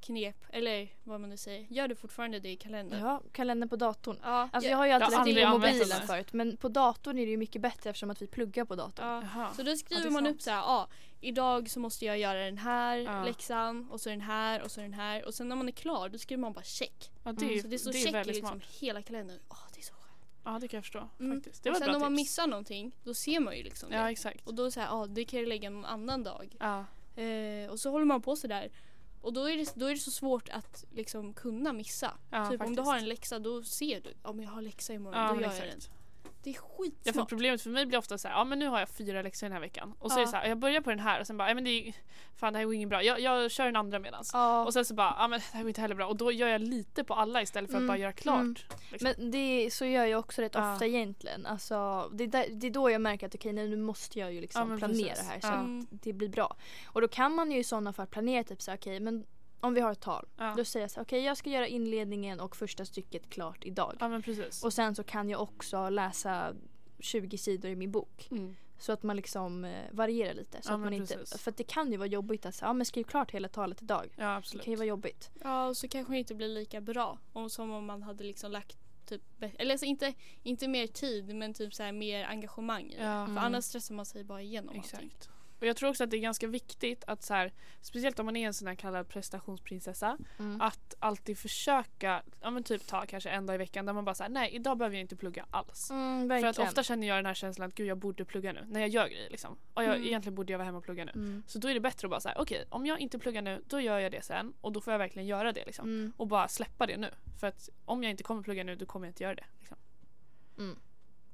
Speaker 1: knep, eller vad man nu säger. Gör du fortfarande det i kalendern?
Speaker 2: Ja, kalendern på datorn.
Speaker 1: Ja,
Speaker 2: Alltså
Speaker 1: jag-
Speaker 2: jag har ju
Speaker 3: har
Speaker 2: alltid lagt in
Speaker 3: aldrig
Speaker 2: på
Speaker 3: använt den
Speaker 2: mobilen
Speaker 3: där.
Speaker 2: förut men på datorn är det ju mycket bättre eftersom att vi pluggar på datorn.
Speaker 1: ja.
Speaker 3: Jaha.
Speaker 1: Så då skriver
Speaker 2: Ja, det är
Speaker 1: man
Speaker 2: sant.
Speaker 1: upp så här, ja, idag så måste jag göra den här
Speaker 3: Ja.
Speaker 1: läxan och så den här och så den här och sen när man är klar då skriver man bara check.
Speaker 3: Ja, det är, ju-
Speaker 1: Mm, Så det står
Speaker 3: typ. det är
Speaker 1: check i
Speaker 3: väldigt
Speaker 1: liksom
Speaker 3: smart.
Speaker 1: hela kalendern. Åh, det är så skönt.
Speaker 3: Ja, det kan jag förstå
Speaker 1: Mm.
Speaker 3: faktiskt. Det
Speaker 1: och
Speaker 3: var
Speaker 1: sen
Speaker 3: ett
Speaker 1: om
Speaker 3: bra
Speaker 1: man
Speaker 3: tips.
Speaker 1: missar någonting då ser man ju liksom
Speaker 3: Ja,
Speaker 1: det.
Speaker 3: exakt.
Speaker 1: Och då så här, ja, det kan jag lägga någon annan dag.
Speaker 3: Ja,
Speaker 1: Eh, och så håller man på så där. Och då är, det, då är det så svårt att liksom kunna missa.
Speaker 3: ja
Speaker 1: typ om
Speaker 3: faktiskt.
Speaker 1: du har en läxa då ser du. Om jag har läxa imorgon
Speaker 3: Ja,
Speaker 1: då
Speaker 3: men
Speaker 1: gör jag den.
Speaker 3: exakt.
Speaker 1: Det är
Speaker 3: Ja, för
Speaker 1: skitsmart.
Speaker 3: problemet för mig blir ofta så här, ja men nu har jag fyra läxor den här veckan. Och så
Speaker 1: Ja.
Speaker 3: är det så här, jag börjar på den här och sen bara, ja men det är, fan det här går ingen bra. Jag, jag kör den andra medans.
Speaker 2: Ja.
Speaker 3: Och sen så bara, ja men det här går inte heller bra. Och då gör jag lite på alla istället för att
Speaker 2: Mm,
Speaker 3: bara göra klart.
Speaker 2: mm.
Speaker 3: Liksom.
Speaker 2: Men det, så gör jag också rätt
Speaker 3: Ja.
Speaker 2: ofta egentligen. Alltså, det, är där, det är då jag märker att okej nej, nu måste jag ju
Speaker 3: Ja,
Speaker 2: liksom
Speaker 3: men
Speaker 2: planera
Speaker 3: precis.
Speaker 2: här så
Speaker 3: Ja.
Speaker 1: Mm.
Speaker 2: att det blir bra. Och då kan man ju i sådana fall planera typ så här, okej men om vi har ett tal.
Speaker 3: Ja.
Speaker 2: Då säger jag så här, okej jag ska göra inledningen och första stycket klart idag.
Speaker 3: ja men precis.
Speaker 2: Och sen så kan jag också läsa 20 sidor i min bok.
Speaker 3: Mm.
Speaker 2: Så att man liksom eh, varierar lite. Så
Speaker 3: Ja,
Speaker 2: att man
Speaker 3: men
Speaker 2: inte,
Speaker 3: precis.
Speaker 2: för att det kan ju vara jobbigt att säga, ja men skriv klart hela talet idag.
Speaker 3: Ja
Speaker 2: Det
Speaker 3: absolut.
Speaker 2: kan ju vara jobbigt.
Speaker 1: Ja, och så kanske det inte blir lika bra om, som om man hade liksom lagt typ bä- eller alltså inte, inte mer tid men typ så här mer engagemang i det.
Speaker 3: Ja.
Speaker 1: För
Speaker 2: Mm.
Speaker 1: annars stressar man sig bara igenom allting.
Speaker 3: Exakt. Och jag tror också att det är ganska viktigt att så här, speciellt om man är en sån här kallad prestationsprinsessa,
Speaker 2: Mm.
Speaker 3: att alltid försöka, ja men typ ta kanske en dag i veckan där man bara säger nej idag behöver jag inte plugga alls.
Speaker 2: Mm,
Speaker 3: För
Speaker 2: verkligen.
Speaker 3: att ofta känner jag den här känslan att gud jag borde plugga nu, när jag gör grejer liksom. Och jag,
Speaker 1: Mm.
Speaker 3: egentligen borde jag vara hemma och plugga nu.
Speaker 2: Mm.
Speaker 3: Så då är det bättre att bara säga okej om jag inte pluggar nu då gör jag det sen och då får jag verkligen göra det liksom.
Speaker 2: Mm.
Speaker 3: Och bara släppa det nu. För att om jag inte kommer plugga nu då kommer jag inte göra det. Liksom.
Speaker 2: Mm.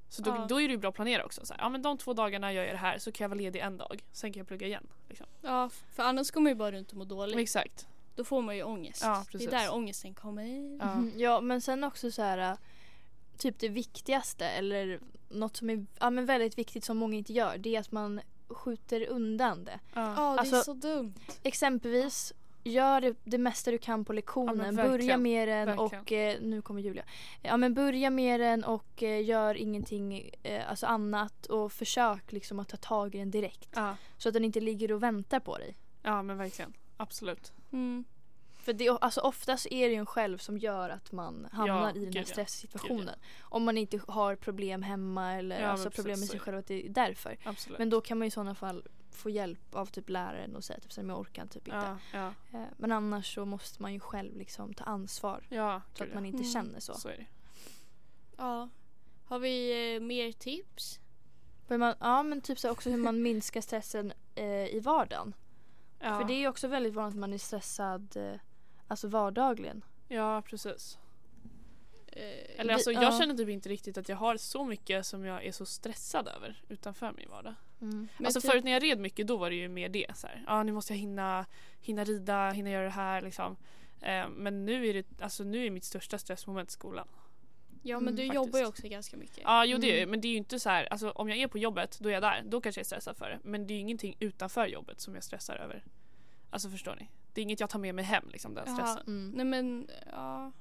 Speaker 3: Så då,
Speaker 1: Ja.
Speaker 3: då är det ju bra att planera också. Så här, ja men de två dagarna gör jag det här så kan jag vara ledig en dag. Sen kan jag plugga igen. Liksom.
Speaker 1: Ja, för annars kommer man ju bara runt och mår dåligt.
Speaker 3: Exakt.
Speaker 1: Då får man ju ångest.
Speaker 3: Ja,
Speaker 1: det är
Speaker 3: precis.
Speaker 1: där ångesten kommer.
Speaker 3: Ja.
Speaker 2: Mm, Ja men sen också så här äh, typ det viktigaste eller något som är ja, men väldigt viktigt som många inte gör det är att man skjuter undan det.
Speaker 3: Ja.
Speaker 1: Ja, det är
Speaker 2: Alltså-
Speaker 1: så dumt.
Speaker 2: Exempelvis, gör det, det mesta du kan på
Speaker 3: Ja,
Speaker 2: lektionen.
Speaker 3: men verkligen.
Speaker 2: börja med den och, eh, nu kommer Julia. Ja men börja med den och eh, gör ingenting eh, alltså annat och försök liksom att ta tag i den direkt.
Speaker 3: Ja.
Speaker 2: Så att den inte ligger och väntar på dig.
Speaker 3: ja men verkligen. Absolut.
Speaker 1: Mm.
Speaker 2: För det, alltså oftast är det ju en själv som gör att man hamnar i den
Speaker 3: gud
Speaker 2: här
Speaker 3: ja.
Speaker 2: stresssituationen. Om man inte har problem hemma eller
Speaker 3: Ja,
Speaker 2: alltså
Speaker 3: men
Speaker 2: problem med
Speaker 3: precis,
Speaker 2: sig
Speaker 3: så är
Speaker 2: själv att det är därför.
Speaker 3: Absolut.
Speaker 2: Men då kan man i sådana fall få hjälp av typ läraren och säga typ såhär, men jag orkar typ inte.
Speaker 3: ja, ja,
Speaker 2: Eh, Men annars så måste man ju själv liksom ta ansvar
Speaker 3: ja,
Speaker 2: så
Speaker 3: gud,
Speaker 2: att man
Speaker 3: ja.
Speaker 2: inte
Speaker 1: Mm.
Speaker 2: känner så.
Speaker 3: Så är det.
Speaker 1: Ja. Har vi eh, mer tips?
Speaker 2: För man, ja men typ så här också hur man minskar stressen eh, i vardagen.
Speaker 3: Ja,
Speaker 2: För det är ju också väldigt vanligt att man är stressad eh, alltså vardagligen.
Speaker 3: ja precis.
Speaker 1: Eh,
Speaker 3: Eller alltså,
Speaker 2: Vi-
Speaker 3: jag
Speaker 2: ja.
Speaker 3: känner typ inte riktigt att jag har så mycket som jag är så stressad över utanför min vardag.
Speaker 2: Mm.
Speaker 1: men
Speaker 3: alltså
Speaker 1: typ-
Speaker 3: förut när jag red mycket då var det ju mer det. Så här. Ja, nu måste jag hinna, hinna rida, hinna göra det här liksom. Eh, men nu är, det, alltså, nu är mitt största stressmoment skolan.
Speaker 1: Ja men
Speaker 2: Mm,
Speaker 1: du
Speaker 3: faktiskt.
Speaker 1: jobbar ju också ganska mycket.
Speaker 3: Ja, jo det är,
Speaker 2: Mm.
Speaker 3: men det är ju inte så här, alltså, om jag är på jobbet då är jag där, då kanske jag är stressad för det. Men det är ju ingenting utanför jobbet som jag stressar över. Alltså förstår ni? Det är inget jag tar med mig hem liksom den
Speaker 1: Jaha.
Speaker 3: stressen.
Speaker 2: Mm.
Speaker 1: Nej men, ja.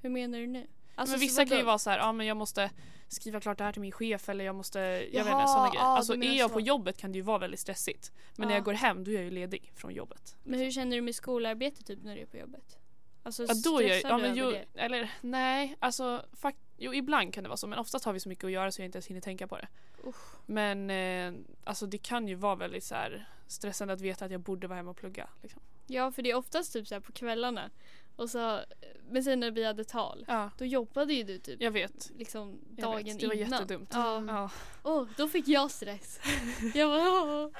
Speaker 1: Hur menar du nu? Alltså,
Speaker 3: men
Speaker 1: så
Speaker 3: vissa kan ju
Speaker 1: vadå?
Speaker 3: vara så här, ja men jag måste skriva klart det här till min chef eller jag måste, jag vet
Speaker 1: Jaha,
Speaker 3: inte, sådana grejer.
Speaker 1: ja,
Speaker 3: Alltså
Speaker 1: du menar
Speaker 3: är jag
Speaker 1: så.
Speaker 3: på jobbet kan det ju vara väldigt stressigt. Men när
Speaker 1: Ja.
Speaker 3: jag går hem då är jag ju ledig från jobbet.
Speaker 1: Men hur känner du med skolarbete typ när du är på jobbet? Alltså
Speaker 3: Ja, då är jag,
Speaker 1: stressar
Speaker 3: ja,
Speaker 1: du
Speaker 3: men
Speaker 1: över
Speaker 3: ju,
Speaker 1: det?
Speaker 3: eller nej, alltså fakt, jo ibland kan det vara så men oftast har vi så mycket att göra så jag inte ens hinner tänka på det.
Speaker 1: Usch.
Speaker 3: Men eh, alltså det kan ju vara väldigt så här stressande att veta att jag borde vara hemma och plugga. Liksom.
Speaker 1: Ja för det är oftast typ så här på kvällarna. Och så, men sen när vi hade tal,
Speaker 3: Ja,
Speaker 1: då jobbade ju du typ
Speaker 3: jag vet.
Speaker 1: liksom
Speaker 3: Jag
Speaker 1: dagen
Speaker 3: vet. Det var
Speaker 1: innan.
Speaker 3: jättedumt.
Speaker 1: Ja.
Speaker 3: Ja.
Speaker 1: Åh, då fick jag stress. jag bara åh.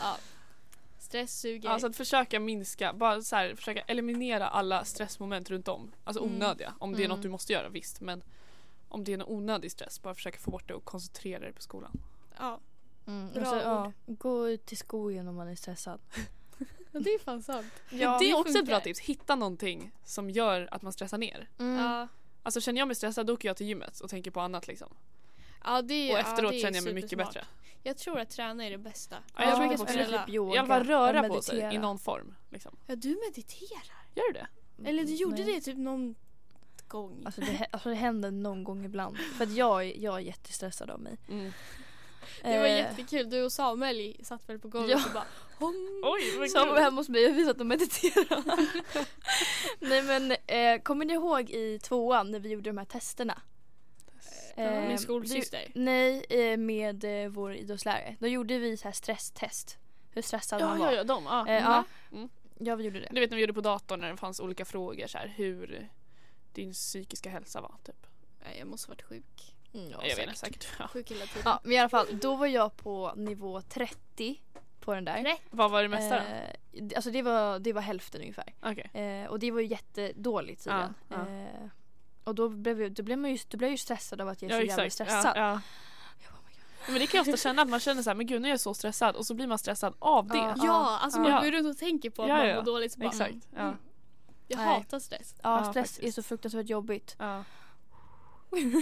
Speaker 1: Ja. Stress suger.
Speaker 3: Alltså att försöka minska, bara så här, försöka eliminera alla stressmoment runt om. Alltså
Speaker 1: Mm.
Speaker 3: onödiga. Om det är
Speaker 2: Mm.
Speaker 3: något du måste göra, visst. Men om det är någon onödig stress, bara försöka få bort det och koncentrera dig på skolan.
Speaker 1: ja.
Speaker 2: Mm. och
Speaker 1: Bra
Speaker 2: så, ja,
Speaker 1: ord.
Speaker 2: gå ut till skogen om man är stressad.
Speaker 1: Men det är fan sant.
Speaker 3: Men det är
Speaker 1: det
Speaker 3: också ett bra
Speaker 1: funkar.
Speaker 3: tips. Hitta någonting som gör att man stressar ner.
Speaker 1: Ja.
Speaker 3: Alltså känner jag mig stressad då åker jag till gymmet och tänker på annat liksom.
Speaker 1: Ja, det är,
Speaker 3: Och
Speaker 1: ja,
Speaker 3: efteråt
Speaker 1: det är
Speaker 3: känner jag mig mycket
Speaker 1: supersmart.
Speaker 3: bättre.
Speaker 1: Jag tror att träna är det bästa.
Speaker 3: Ja, jag tror
Speaker 1: brukar
Speaker 3: också det.
Speaker 1: spela.
Speaker 2: eller typ yoga.
Speaker 3: I alla fall röra
Speaker 2: och
Speaker 3: på sig i
Speaker 2: meditera.
Speaker 3: någon form. Liksom.
Speaker 1: Ja, du mediterar.
Speaker 3: Gör du det?
Speaker 1: Eller du gjorde
Speaker 2: Nej.
Speaker 1: det typ någon gång.
Speaker 2: Alltså det, hä- alltså det händer någon gång ibland. För att jag, är- jag är jättestressad av mig.
Speaker 3: Mm.
Speaker 1: Det var
Speaker 2: Eh,
Speaker 1: jättekul. Du och Samuel satt väl på golvet
Speaker 2: Ja.
Speaker 1: och bara hom.
Speaker 3: Oj, vad
Speaker 2: Som var
Speaker 3: kul.
Speaker 2: hemma hos mig och vi satt och mediterade. Nej men eh, kommer ni ihåg i tvåan när vi gjorde de här testerna? Eh,
Speaker 1: Min skolsyster.
Speaker 2: Nej, eh, med eh, vår idrottslärare. Då gjorde vi så här stresstest. Hur stressad
Speaker 3: Ja,
Speaker 2: man
Speaker 3: ja,
Speaker 2: var.
Speaker 3: ja, de. Ja.
Speaker 2: Eh, ja.
Speaker 3: Mm.
Speaker 2: ja, vi gjorde det.
Speaker 3: Du vet när vi gjorde på datorn när det fanns olika frågor så här, hur din psykiska hälsa var typ.
Speaker 1: Nej, jag måste varit sjuk.
Speaker 2: ja,
Speaker 3: jag vet inte säkert. Ja.
Speaker 1: Sjuk hela tiden.
Speaker 2: Ja, men i alla fall, då var jag på nivå 30 på den där.
Speaker 1: Nej.
Speaker 3: Vad var det mesta då?
Speaker 2: Eh, alltså det var, det var hälften ungefär.
Speaker 3: Okej.
Speaker 2: Eh, och det var ju jättedåligt tydligen.
Speaker 3: Ja, ja.
Speaker 2: Eh, och då blev, jag, då, blev man ju, då blev jag ju stressad av att jag är
Speaker 3: Ja
Speaker 2: så jävla
Speaker 3: exakt.
Speaker 2: stressad.
Speaker 3: Ja, ja. Men det kan jag ofta känna att man känner så här, men gud nu är jag så stressad och så blir man stressad av det.
Speaker 2: Ja.
Speaker 1: Ja, alltså man
Speaker 3: Ja.
Speaker 1: går ju runt och tänker på att
Speaker 3: Ja,
Speaker 1: man
Speaker 3: ja.
Speaker 1: mår dåligt. Så bara, "Mm,
Speaker 3: Exakt. Ja.
Speaker 1: Jag
Speaker 2: Nej.
Speaker 1: hatar stress.
Speaker 2: Ja,
Speaker 3: Ja,
Speaker 2: stress är
Speaker 3: faktiskt.
Speaker 2: så fruktansvärt jobbigt.
Speaker 3: Ja.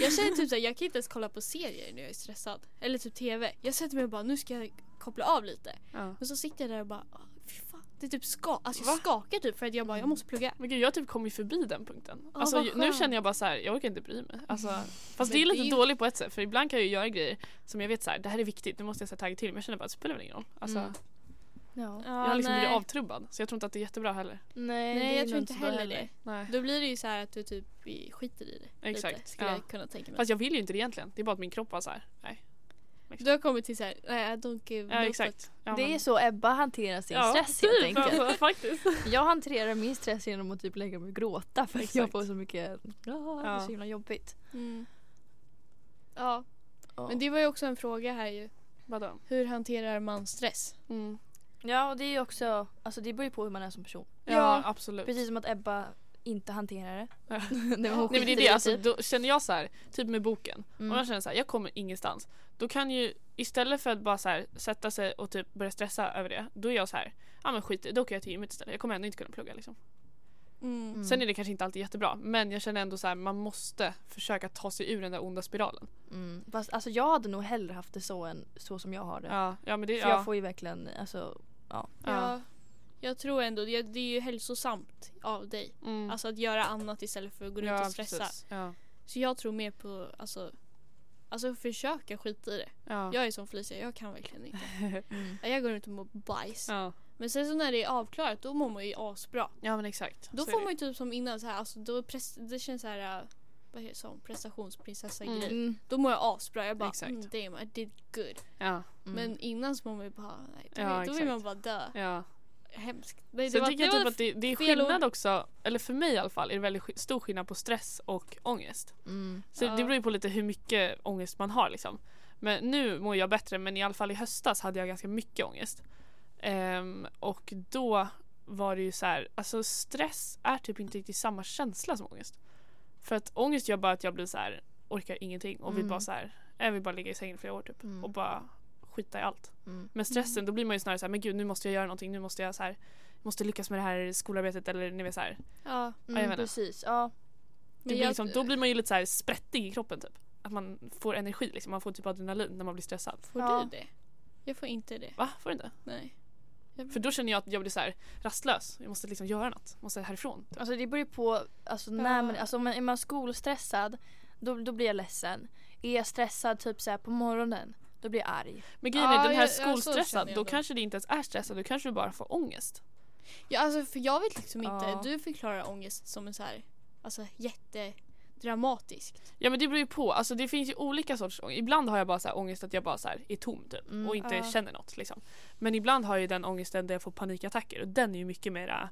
Speaker 1: Jag känner typ såhär, jag kan inte ens kolla på serier när jag är stressad. Eller typ TV. Jag sätter mig och bara, nu ska jag koppla av lite.
Speaker 3: Ja.
Speaker 1: Men så sitter jag där och bara, åh, fy fan. Det är typ ska alltså
Speaker 3: Va?
Speaker 1: jag skakar typ för att jag bara, jag måste plugga.
Speaker 3: Men gud jag har typ kommit förbi den punkten.
Speaker 1: Ja,
Speaker 3: alltså,
Speaker 1: vad
Speaker 3: ju- nu
Speaker 1: skönt.
Speaker 3: känner jag bara så här, jag orkar inte bry mig. Alltså,
Speaker 1: Men
Speaker 3: fast det
Speaker 1: det
Speaker 3: är
Speaker 1: är
Speaker 3: lite
Speaker 1: ju-
Speaker 3: dåligt på ett sätt för ibland kan jag ju göra grejer som jag vet så här, det här är viktigt, nu måste jag säga tagga till men jag känner bara att det spelar väl ingen roll. Alltså,
Speaker 2: Mm. Ja.
Speaker 1: Ja,
Speaker 3: Jag har liksom
Speaker 1: nej.
Speaker 3: blivit avtrubbad så jag tror inte att det är jättebra heller.
Speaker 2: Nej,
Speaker 1: Nej,
Speaker 2: det
Speaker 1: jag
Speaker 2: är
Speaker 1: tror
Speaker 2: nog
Speaker 1: inte
Speaker 2: bra
Speaker 1: heller, det.
Speaker 3: Nej.
Speaker 1: Då blir det ju så här att du typ skiter i det lite,
Speaker 3: Exakt,
Speaker 1: skulle
Speaker 3: ja.
Speaker 1: jag kunna tänka mig.
Speaker 3: Fast jag vill ju inte det egentligen. Det är bara att min kropp var så här. Nej.
Speaker 1: du har kommit till så här, nej I don't give
Speaker 3: Ja
Speaker 1: no
Speaker 3: exakt. Ja,
Speaker 2: Det är
Speaker 3: men-
Speaker 2: så Ebba hanterar sin
Speaker 3: Ja,
Speaker 2: stress
Speaker 3: typ,
Speaker 2: helt enkelt.
Speaker 3: Alltså, faktiskt.
Speaker 2: Jag hanterar min stress genom att typ lägga mig och gråta för att
Speaker 3: Exakt.
Speaker 2: jag får så mycket, ah, det är
Speaker 3: Ja.
Speaker 2: så himla jobbigt.
Speaker 1: fuck. Mm. Ja,
Speaker 2: Ja.
Speaker 1: men det var ju också en fråga här ju.
Speaker 3: Vadå?
Speaker 1: Hur hanterar man stress?
Speaker 3: Mm.
Speaker 2: Ja och det är ju också, alltså det beror ju på hur man är som person.
Speaker 3: Ja,
Speaker 1: Ja.
Speaker 3: absolut.
Speaker 2: Precis som att Ebba inte hanterar det.
Speaker 3: Ja.
Speaker 2: Nej, men hon
Speaker 3: Nej men det är
Speaker 2: skiter i
Speaker 3: det, alltså,
Speaker 2: typ.
Speaker 3: då känner jag så här, typ med boken.
Speaker 2: Mm.
Speaker 3: Om jag känner så här, jag kommer ingenstans. Då kan ju, istället för att bara så här, sätta sig och typ börja stressa över det. Då är jag så här, ja men skit i det, då åker jag till gymmet istället. Jag kommer ändå inte kunna plugga liksom.
Speaker 1: Mm.
Speaker 3: Sen är det kanske inte alltid jättebra men jag känner ändå så här man måste försöka ta sig ur den där onda spiralen.
Speaker 2: Mm. Fast, alltså, jag hade nog hellre haft det så än så som jag har det.
Speaker 3: Ja, ja men det
Speaker 2: För
Speaker 3: ja,
Speaker 2: jag får ju verkligen, alltså,
Speaker 3: ja.
Speaker 1: Ja, jag tror ändå det, det är ju hälsosamt av dig.
Speaker 3: Mm.
Speaker 1: Alltså att göra annat istället för att gå runt
Speaker 3: ja,
Speaker 1: och stressa.
Speaker 3: precis. Ja.
Speaker 1: Så jag tror mer på alltså, alltså försöka skita i det.
Speaker 3: Ja.
Speaker 1: Jag är som Felicia, jag kan verkligen inte.
Speaker 2: mm.
Speaker 1: Ja, Jag går runt och mår bajs.
Speaker 3: Ja.
Speaker 1: Men sen så när det är avklarat då mår man ju asbra.
Speaker 3: ja men exakt.
Speaker 1: Då
Speaker 3: Så är
Speaker 1: får
Speaker 3: det.
Speaker 1: man ju typ som innan så här, alltså, då pres- det känns så här, äh, vad heter det, som prestationsprinsessa grej.
Speaker 3: Eh,
Speaker 2: Mm.
Speaker 1: Då mår jag asbra. Jag bara
Speaker 3: Exakt.
Speaker 1: mm, damn I did good.
Speaker 3: Ja.
Speaker 2: Mm.
Speaker 1: Men innan så mår man ju bara, nej, då,
Speaker 3: Ja,
Speaker 1: vill, då vill
Speaker 3: exakt.
Speaker 1: man bara dö.
Speaker 3: ja.
Speaker 1: Hemskt. Nej,
Speaker 3: Sen
Speaker 1: var-
Speaker 3: tycker jag
Speaker 1: var
Speaker 3: typ att det, det är
Speaker 1: fel ord.
Speaker 3: skillnad också, eller för mig i alla fall, är det väldigt sk- stor skillnad på stress och ångest.
Speaker 2: Mm.
Speaker 3: Så
Speaker 1: Ja.
Speaker 3: det beror ju på lite hur mycket ångest man har liksom. Men nu mår jag bättre men i alla fall i höstas hade jag ganska mycket ångest. Ehm, och då var det ju så här, alltså stress är typ inte riktigt samma känsla som ångest. För att ångest gör bara att jag blir så här, orkar ingenting och vill
Speaker 2: Mm.
Speaker 3: bara så här, jag vill bara ligga i sängen i flera år typ.
Speaker 2: Mm.
Speaker 3: Och bara skita i allt.
Speaker 2: Mm.
Speaker 3: Men stressen, då blir man ju snarare så här, men gud nu måste jag göra någonting, nu måste jag så här, måste lyckas med det här skolarbetet eller ni vet så här.
Speaker 1: Ja,
Speaker 3: jag vet
Speaker 2: Mm,
Speaker 3: inte.
Speaker 2: precis, ja.
Speaker 1: men
Speaker 3: Det blir
Speaker 1: jag-
Speaker 3: liksom, då blir man ju lite så här sprättig i kroppen typ. Att man får energi liksom, man får typ adrenalin när man blir stressad.
Speaker 1: Får
Speaker 2: Ja.
Speaker 1: du det? Jag får inte det.
Speaker 3: Va? Får du inte?
Speaker 1: Nej.
Speaker 3: För då känner jag att jag blir så här rastlös. Jag måste liksom göra något. Måste härifrån. typ.
Speaker 2: Alltså det beror ju på, alltså, när man, alltså om man, är man skolstressad då, då blir jag ledsen. Är jag stressad typ så här på morgonen då blir jag arg.
Speaker 3: Men grejen är
Speaker 1: Ja,
Speaker 3: den här
Speaker 1: ja, ja, så
Speaker 3: skolstressad,
Speaker 1: känner jag
Speaker 3: då
Speaker 1: då.
Speaker 3: kanske det inte ens är stressad. Då kanske du bara får ångest.
Speaker 1: Ja, alltså, för jag vet liksom inte.
Speaker 2: Ja.
Speaker 1: Du förklarar ångest som en så här, alltså jättedramatiskt.
Speaker 3: Ja men det beror ju på. Alltså det finns ju olika sorters ångest. Ibland har jag bara så här ångest att jag bara så här är tom typ.
Speaker 2: Mm.
Speaker 3: och inte
Speaker 1: Ja.
Speaker 3: känner något liksom. Men ibland har jag ju den ångesten där jag får panikattacker. Och den är ju mycket mera,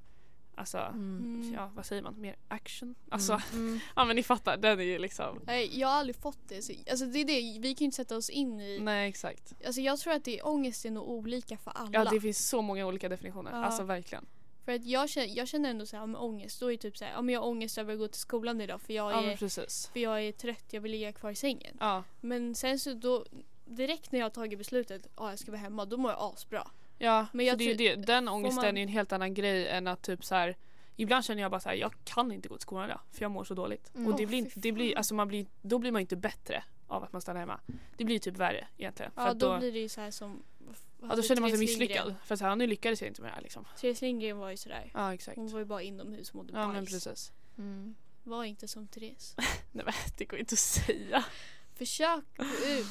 Speaker 3: alltså
Speaker 1: Mm.
Speaker 3: ja vad säger man, mer action. Alltså
Speaker 2: Mm.
Speaker 3: ja men ni fattar, den är ju liksom.
Speaker 1: Nej, jag har aldrig fått det. Så, alltså, det är det. Vi kan ju inte sätta oss in i.
Speaker 3: Nej exakt.
Speaker 1: Alltså, jag tror att det är ångest är nog olika för alla.
Speaker 3: Ja det finns så många olika definitioner.
Speaker 1: Ja.
Speaker 3: Alltså verkligen.
Speaker 1: För att jag känner, jag känner ändå så här, ja, men ångest. Då är det typ så här, ja, men jag har ångest över att gå till skolan idag för jag
Speaker 3: Ja
Speaker 1: är,
Speaker 3: men precis.
Speaker 1: för jag är trött. Jag vill ligga kvar i sängen.
Speaker 3: Ja.
Speaker 1: Men sen så då direkt när jag har tagit beslutet att jag ska vara hemma, då mår jag asbra.
Speaker 3: Ja,
Speaker 1: Men
Speaker 3: men
Speaker 1: jag
Speaker 3: jag det är ju det. Den
Speaker 1: man-
Speaker 3: ångesten är ju en helt annan grej än att typ så här. Ibland känner jag bara så här, jag kan inte gå till skolan idag för jag mår så dåligt.
Speaker 2: Mm.
Speaker 3: Och det
Speaker 1: Åh,
Speaker 3: blir,
Speaker 1: fy
Speaker 3: inte, det blir,
Speaker 1: fan.
Speaker 3: alltså man blir, då blir man ju inte bättre av att man stannar hemma. Det blir ju typ värre egentligen. för
Speaker 1: Ja,
Speaker 3: att då,
Speaker 1: då, blir det ju så här som...
Speaker 3: ja, då känner man sig
Speaker 1: Therese Lindgren.
Speaker 3: misslyckad. För att så här, nu lyckades jag inte med det här liksom.
Speaker 1: Therese Lindgren var ju sådär.
Speaker 3: Ja exakt.
Speaker 1: Hon var ju bara inomhus och mådde
Speaker 3: Ja men
Speaker 1: bajs.
Speaker 3: precis.
Speaker 2: Mm.
Speaker 1: Var inte som Therese.
Speaker 3: Nej men det går inte att säga.
Speaker 1: Försök gå ut.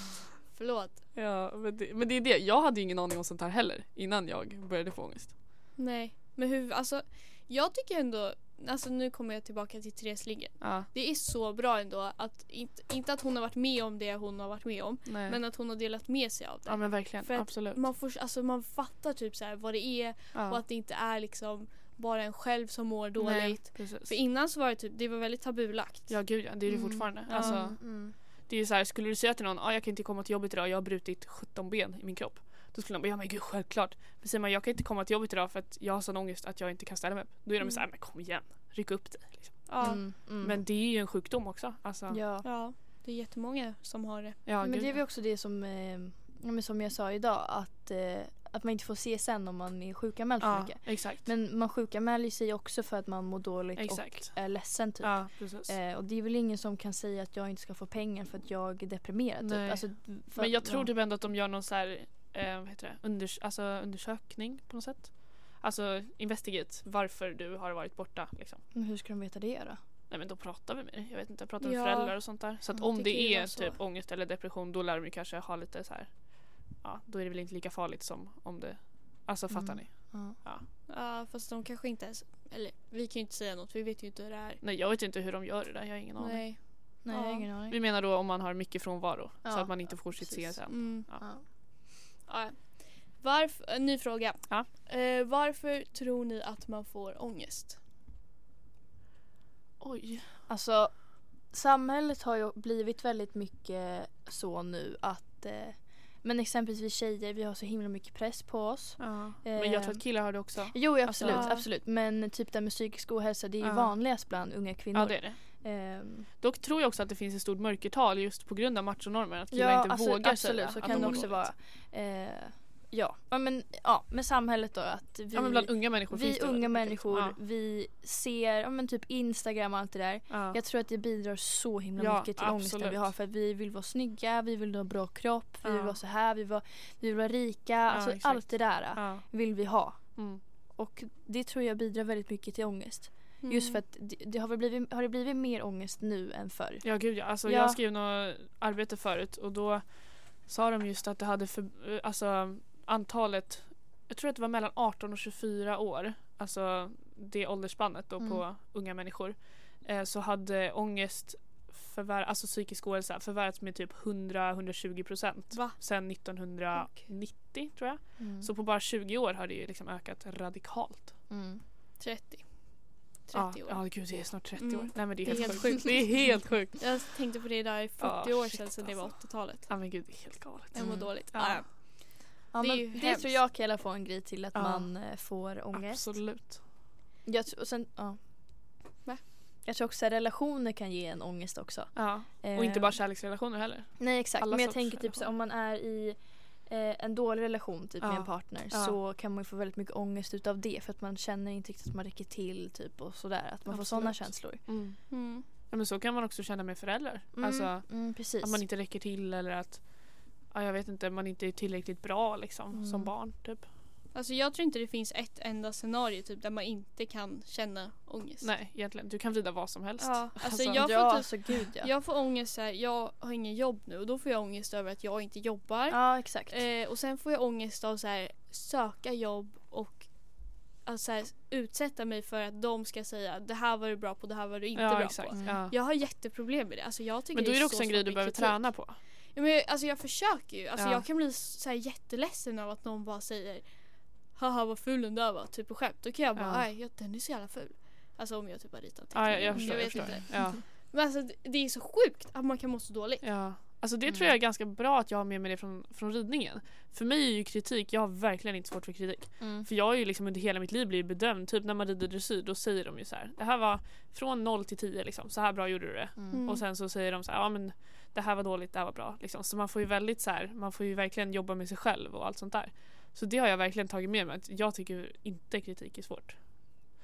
Speaker 1: Förlåt.
Speaker 3: Ja men det, men det är det, jag hade ju ingen aning om sånt här heller innan jag började få ångest.
Speaker 1: Nej. Men hur, alltså. Jag tycker ändå, alltså nu kommer jag tillbaka till Therese Lindgren.
Speaker 3: Ja,
Speaker 1: Det är så bra ändå att, inte, inte att hon har varit med om det hon har varit med om.
Speaker 3: nej.
Speaker 1: Men att hon har delat med sig av det.
Speaker 3: ja men verkligen,
Speaker 1: För att
Speaker 3: absolut.
Speaker 1: Man, får, alltså, man fattar typ så här vad det är
Speaker 3: Ja.
Speaker 1: och att det inte är liksom bara en själv som mår
Speaker 3: Nej,
Speaker 1: dåligt.
Speaker 3: precis.
Speaker 1: För innan så var det typ, det var väldigt tabulagt.
Speaker 3: Ja gud ja, det är det
Speaker 2: Mm.
Speaker 3: fortfarande.
Speaker 1: Ja.
Speaker 3: Alltså,
Speaker 2: Mm.
Speaker 3: Det är ju så här, skulle du säga till någon att ah, jag kan inte komma till jobbet idag, jag har brutit 17 ben i min kropp. Då skulle de bara ja men gud självklart. Men säger man jag kan inte komma till jobbet idag för att jag har sån ångest att jag inte kan ställa mig upp. Då är de
Speaker 1: Mm.
Speaker 3: så här men kom igen, ryck upp dig. Liksom.
Speaker 1: Ja.
Speaker 2: Mm. Mm.
Speaker 3: Men det är ju en sjukdom också. Alltså, ja,
Speaker 2: ja.
Speaker 1: ja. Det är jättemånga som har det.
Speaker 3: ja,
Speaker 2: men
Speaker 3: gud,
Speaker 2: det är
Speaker 3: ja.
Speaker 2: väl också det som, eh, ja, men som jag sa idag att, eh, att man inte får se sen om man är sjukanmäld för
Speaker 3: ja,
Speaker 2: mycket.
Speaker 3: exakt.
Speaker 2: Men man sjukanmäler ju sig också för att man mår dåligt
Speaker 3: Exakt.
Speaker 2: och är ledsen typ.
Speaker 3: Ja precis.
Speaker 2: Eh, och det är väl ingen som kan säga att jag inte ska få pengar för att jag är deprimerad.
Speaker 3: Nej.
Speaker 2: Typ. Alltså, för
Speaker 3: men jag
Speaker 2: att-
Speaker 3: tror
Speaker 2: ja.
Speaker 3: typ ändå att de gör någon så här, eh, vad heter det, unders- alltså, undersökning på något sätt. Alltså investigate varför du har varit borta liksom.
Speaker 2: Men hur ska de veta det då?
Speaker 3: Nej men då pratar vi med dig. Jag vet inte, jag pratar med
Speaker 1: Ja.
Speaker 3: föräldrar och sånt där. Så att
Speaker 2: Mm,
Speaker 3: om
Speaker 1: det
Speaker 3: det,
Speaker 1: kan ju vara
Speaker 3: är
Speaker 1: så.
Speaker 3: typ ångest eller depression då lär de ju kanske ha lite så här. Ja, då är det väl inte lika farligt som om det... Alltså fattar
Speaker 2: Mm.
Speaker 3: ni?
Speaker 2: Ja.
Speaker 1: Ja, fast de kanske inte ens... Eller vi kan ju inte säga något, vi vet ju inte hur det är.
Speaker 3: Nej jag vet inte hur de gör det där, jag har ingen aning.
Speaker 1: Nej.
Speaker 2: Nej, jag har
Speaker 1: Ja.
Speaker 2: ingen aning.
Speaker 3: Vi menar då om man har mycket frånvaro så
Speaker 2: Ja,
Speaker 3: att man inte får sitt
Speaker 2: precis.
Speaker 3: CSN.
Speaker 1: Mm.
Speaker 3: Ja.
Speaker 2: Ja.
Speaker 1: Ja. Varf- en ny fråga.
Speaker 3: Ja.
Speaker 1: Eh, varför tror ni att man får ångest?
Speaker 3: Oj.
Speaker 2: Alltså, samhället har ju blivit väldigt mycket så nu att eh, men exempelvis vi tjejer, vi har så himla mycket press på oss. Eh,
Speaker 3: Men jag tror
Speaker 2: Ehm.
Speaker 3: att killar har det också.
Speaker 2: Jo, ja, absolut,
Speaker 1: Alltså-
Speaker 2: absolut. Men typ det här med psykisk ohälsa, det är ju
Speaker 3: Ja.
Speaker 2: vanligast bland unga kvinnor.
Speaker 3: Ja det är det.
Speaker 2: Ehm,
Speaker 3: Dock tror jag också att det finns ett stort mörkertal just på grund av machonormen. Att killar inte
Speaker 2: alltså-
Speaker 3: vågar
Speaker 2: absolut,
Speaker 3: säga
Speaker 2: så
Speaker 3: att
Speaker 2: kan
Speaker 3: de
Speaker 2: det
Speaker 3: mår
Speaker 2: också
Speaker 3: dåligt.
Speaker 2: vara. Eh, Ja, ja, men, ja med samhället då att vi,
Speaker 3: ja men bland unga människor finns
Speaker 2: vi
Speaker 3: det väl
Speaker 2: unga
Speaker 3: mycket,
Speaker 2: människor,
Speaker 3: liksom.
Speaker 2: vi ser ja, men typ Instagram och allt det där.
Speaker 3: Ja. Ja.
Speaker 2: Jag tror att det bidrar så himla
Speaker 3: Ja,
Speaker 2: mycket till ångesten vi
Speaker 3: absolut.
Speaker 2: har för att vi vill vara snygga, vi vill ha bra kropp, vi
Speaker 3: Ja.
Speaker 2: vill vara så här, vi vill vara, vi vill vara rika. alltså
Speaker 3: exakt.
Speaker 2: allt det där
Speaker 3: Ja.
Speaker 2: vill vi ha.
Speaker 3: Mm.
Speaker 2: Och det tror jag bidrar väldigt mycket till ångest.
Speaker 1: Mm.
Speaker 3: Mm.
Speaker 2: Just för att det, det har, väl blivit, har det blivit mer ångest nu än förr.
Speaker 3: Ja gud ja. Alltså,
Speaker 2: Ja.
Speaker 3: Jag skrev något arbete förut och då sa de just att det hade för, alltså, antalet, jag tror att det var mellan 18 och 24 år, alltså det åldersspannet då på
Speaker 2: Mm.
Speaker 3: unga människor, eh, så hade ångest, förvär, alltså psykisk ohälsa, förvärrats med typ 100-120 procent
Speaker 1: Va?
Speaker 3: sedan 1990 tror jag.
Speaker 2: Mm.
Speaker 3: Så på bara 20 år har det ju liksom ökat radikalt.
Speaker 2: Mm.
Speaker 1: 30. 30
Speaker 3: ja,
Speaker 1: år.
Speaker 3: ja gud det är snart 30 år.
Speaker 1: Mm.
Speaker 3: Nej men det är helt, sjukt. Det är helt sjukt.
Speaker 1: Jag tänkte på det idag i 40
Speaker 3: Ja,
Speaker 1: år
Speaker 3: shit,
Speaker 1: sedan, så det var 80-talet.
Speaker 3: Ja men gud det är helt galet.
Speaker 1: Jag mår
Speaker 2: Mm.
Speaker 1: dåligt.
Speaker 3: Ja.
Speaker 1: Ja. ja.
Speaker 2: Ja,
Speaker 1: Det är
Speaker 2: men
Speaker 1: ju
Speaker 2: det
Speaker 1: hemskt.
Speaker 2: tror jag kan i alla fall en grej till att
Speaker 3: Ja.
Speaker 2: man eh, får ångest.
Speaker 3: Absolut.
Speaker 2: Jag, tr- och sen, ja.
Speaker 1: Va?
Speaker 2: jag tror också att relationer kan ge en ångest också.
Speaker 3: Ja.
Speaker 2: Eh,
Speaker 3: Och inte bara kärleksrelationer heller.
Speaker 2: Nej exakt,
Speaker 3: alla
Speaker 2: men jag
Speaker 3: sorters
Speaker 2: tänker typ så, här, om man är i eh, en dålig relation typ,
Speaker 3: Ja.
Speaker 2: med en partner
Speaker 3: Ja.
Speaker 2: så kan man ju få väldigt mycket ångest utav det för att man känner inte riktigt att man räcker till typ och sådär. Att man får sådana
Speaker 3: Absolut.
Speaker 2: känslor.
Speaker 1: Mm.
Speaker 3: Ja, men så kan man också känna med föräldrar.
Speaker 2: Mm,
Speaker 3: Alltså
Speaker 2: mm, precis.
Speaker 3: att man inte räcker till eller att ja, jag vet inte, man inte är tillräckligt bra liksom
Speaker 2: Mm.
Speaker 3: som barn. Typ.
Speaker 1: Alltså jag tror inte det finns ett enda scenario typ, där man inte kan känna ångest.
Speaker 3: Nej egentligen, du kan vrida vad som helst.
Speaker 1: Ja, alltså,
Speaker 3: Alltså,
Speaker 1: jag,
Speaker 2: ja,
Speaker 1: får typ,
Speaker 2: alltså gud ja.
Speaker 1: jag får ångest så här, jag har ingen jobb nu och då får jag ångest över att jag inte jobbar.
Speaker 2: Ja exakt.
Speaker 1: Eh, och sen får jag ångest av så här, söka jobb och alltså, så här, utsätta mig för att de ska säga det här var du bra på, det här var du inte
Speaker 3: ja,
Speaker 1: bra
Speaker 3: exakt.
Speaker 1: på.
Speaker 2: Mm.
Speaker 3: Ja.
Speaker 1: Jag har jätteproblem med det. Alltså, jag tycker
Speaker 3: Men då är det
Speaker 1: så
Speaker 3: också en
Speaker 1: svårt
Speaker 3: grej du
Speaker 1: med
Speaker 3: behöver
Speaker 1: kritik.
Speaker 3: träna på.
Speaker 1: Ja, men, jag- alltså, jag försöker ju. Alltså,
Speaker 3: Ja.
Speaker 1: Jag kan bli så här, jätteledsen av att någon bara säger haha vad ful den där var, typ på skämt. Då kan jag bara
Speaker 3: Ja.
Speaker 1: nej ja, den är så jävla ful. Alltså om jag typ har ritat en
Speaker 3: Ja, jag,
Speaker 1: teckning.
Speaker 3: jag förstår. Jag
Speaker 1: vet
Speaker 3: förstår.
Speaker 1: inte.
Speaker 3: Ja,
Speaker 1: Men alltså det- det är så sjukt att man kan må så dåligt.
Speaker 3: ja. Alltså det
Speaker 2: Mm.
Speaker 3: tror jag är ganska bra att jag har med mig det från, från ridningen. För mig är ju kritik, jag har verkligen inte svårt för kritik.
Speaker 2: Mm.
Speaker 3: För jag är ju liksom under hela mitt liv blivit bedömd. Typ när man rider dressyr då säger de ju så här. Det här var från 0 till 10 liksom. Så här bra gjorde du det.
Speaker 1: Mm.
Speaker 3: Och sen så säger de så här. Ja men det här var dåligt, det här var bra. Liksom. Så man får ju väldigt så här. Man får ju verkligen jobba med sig själv och allt sånt där. Så det har jag verkligen tagit med mig. Att jag tycker inte kritik är svårt.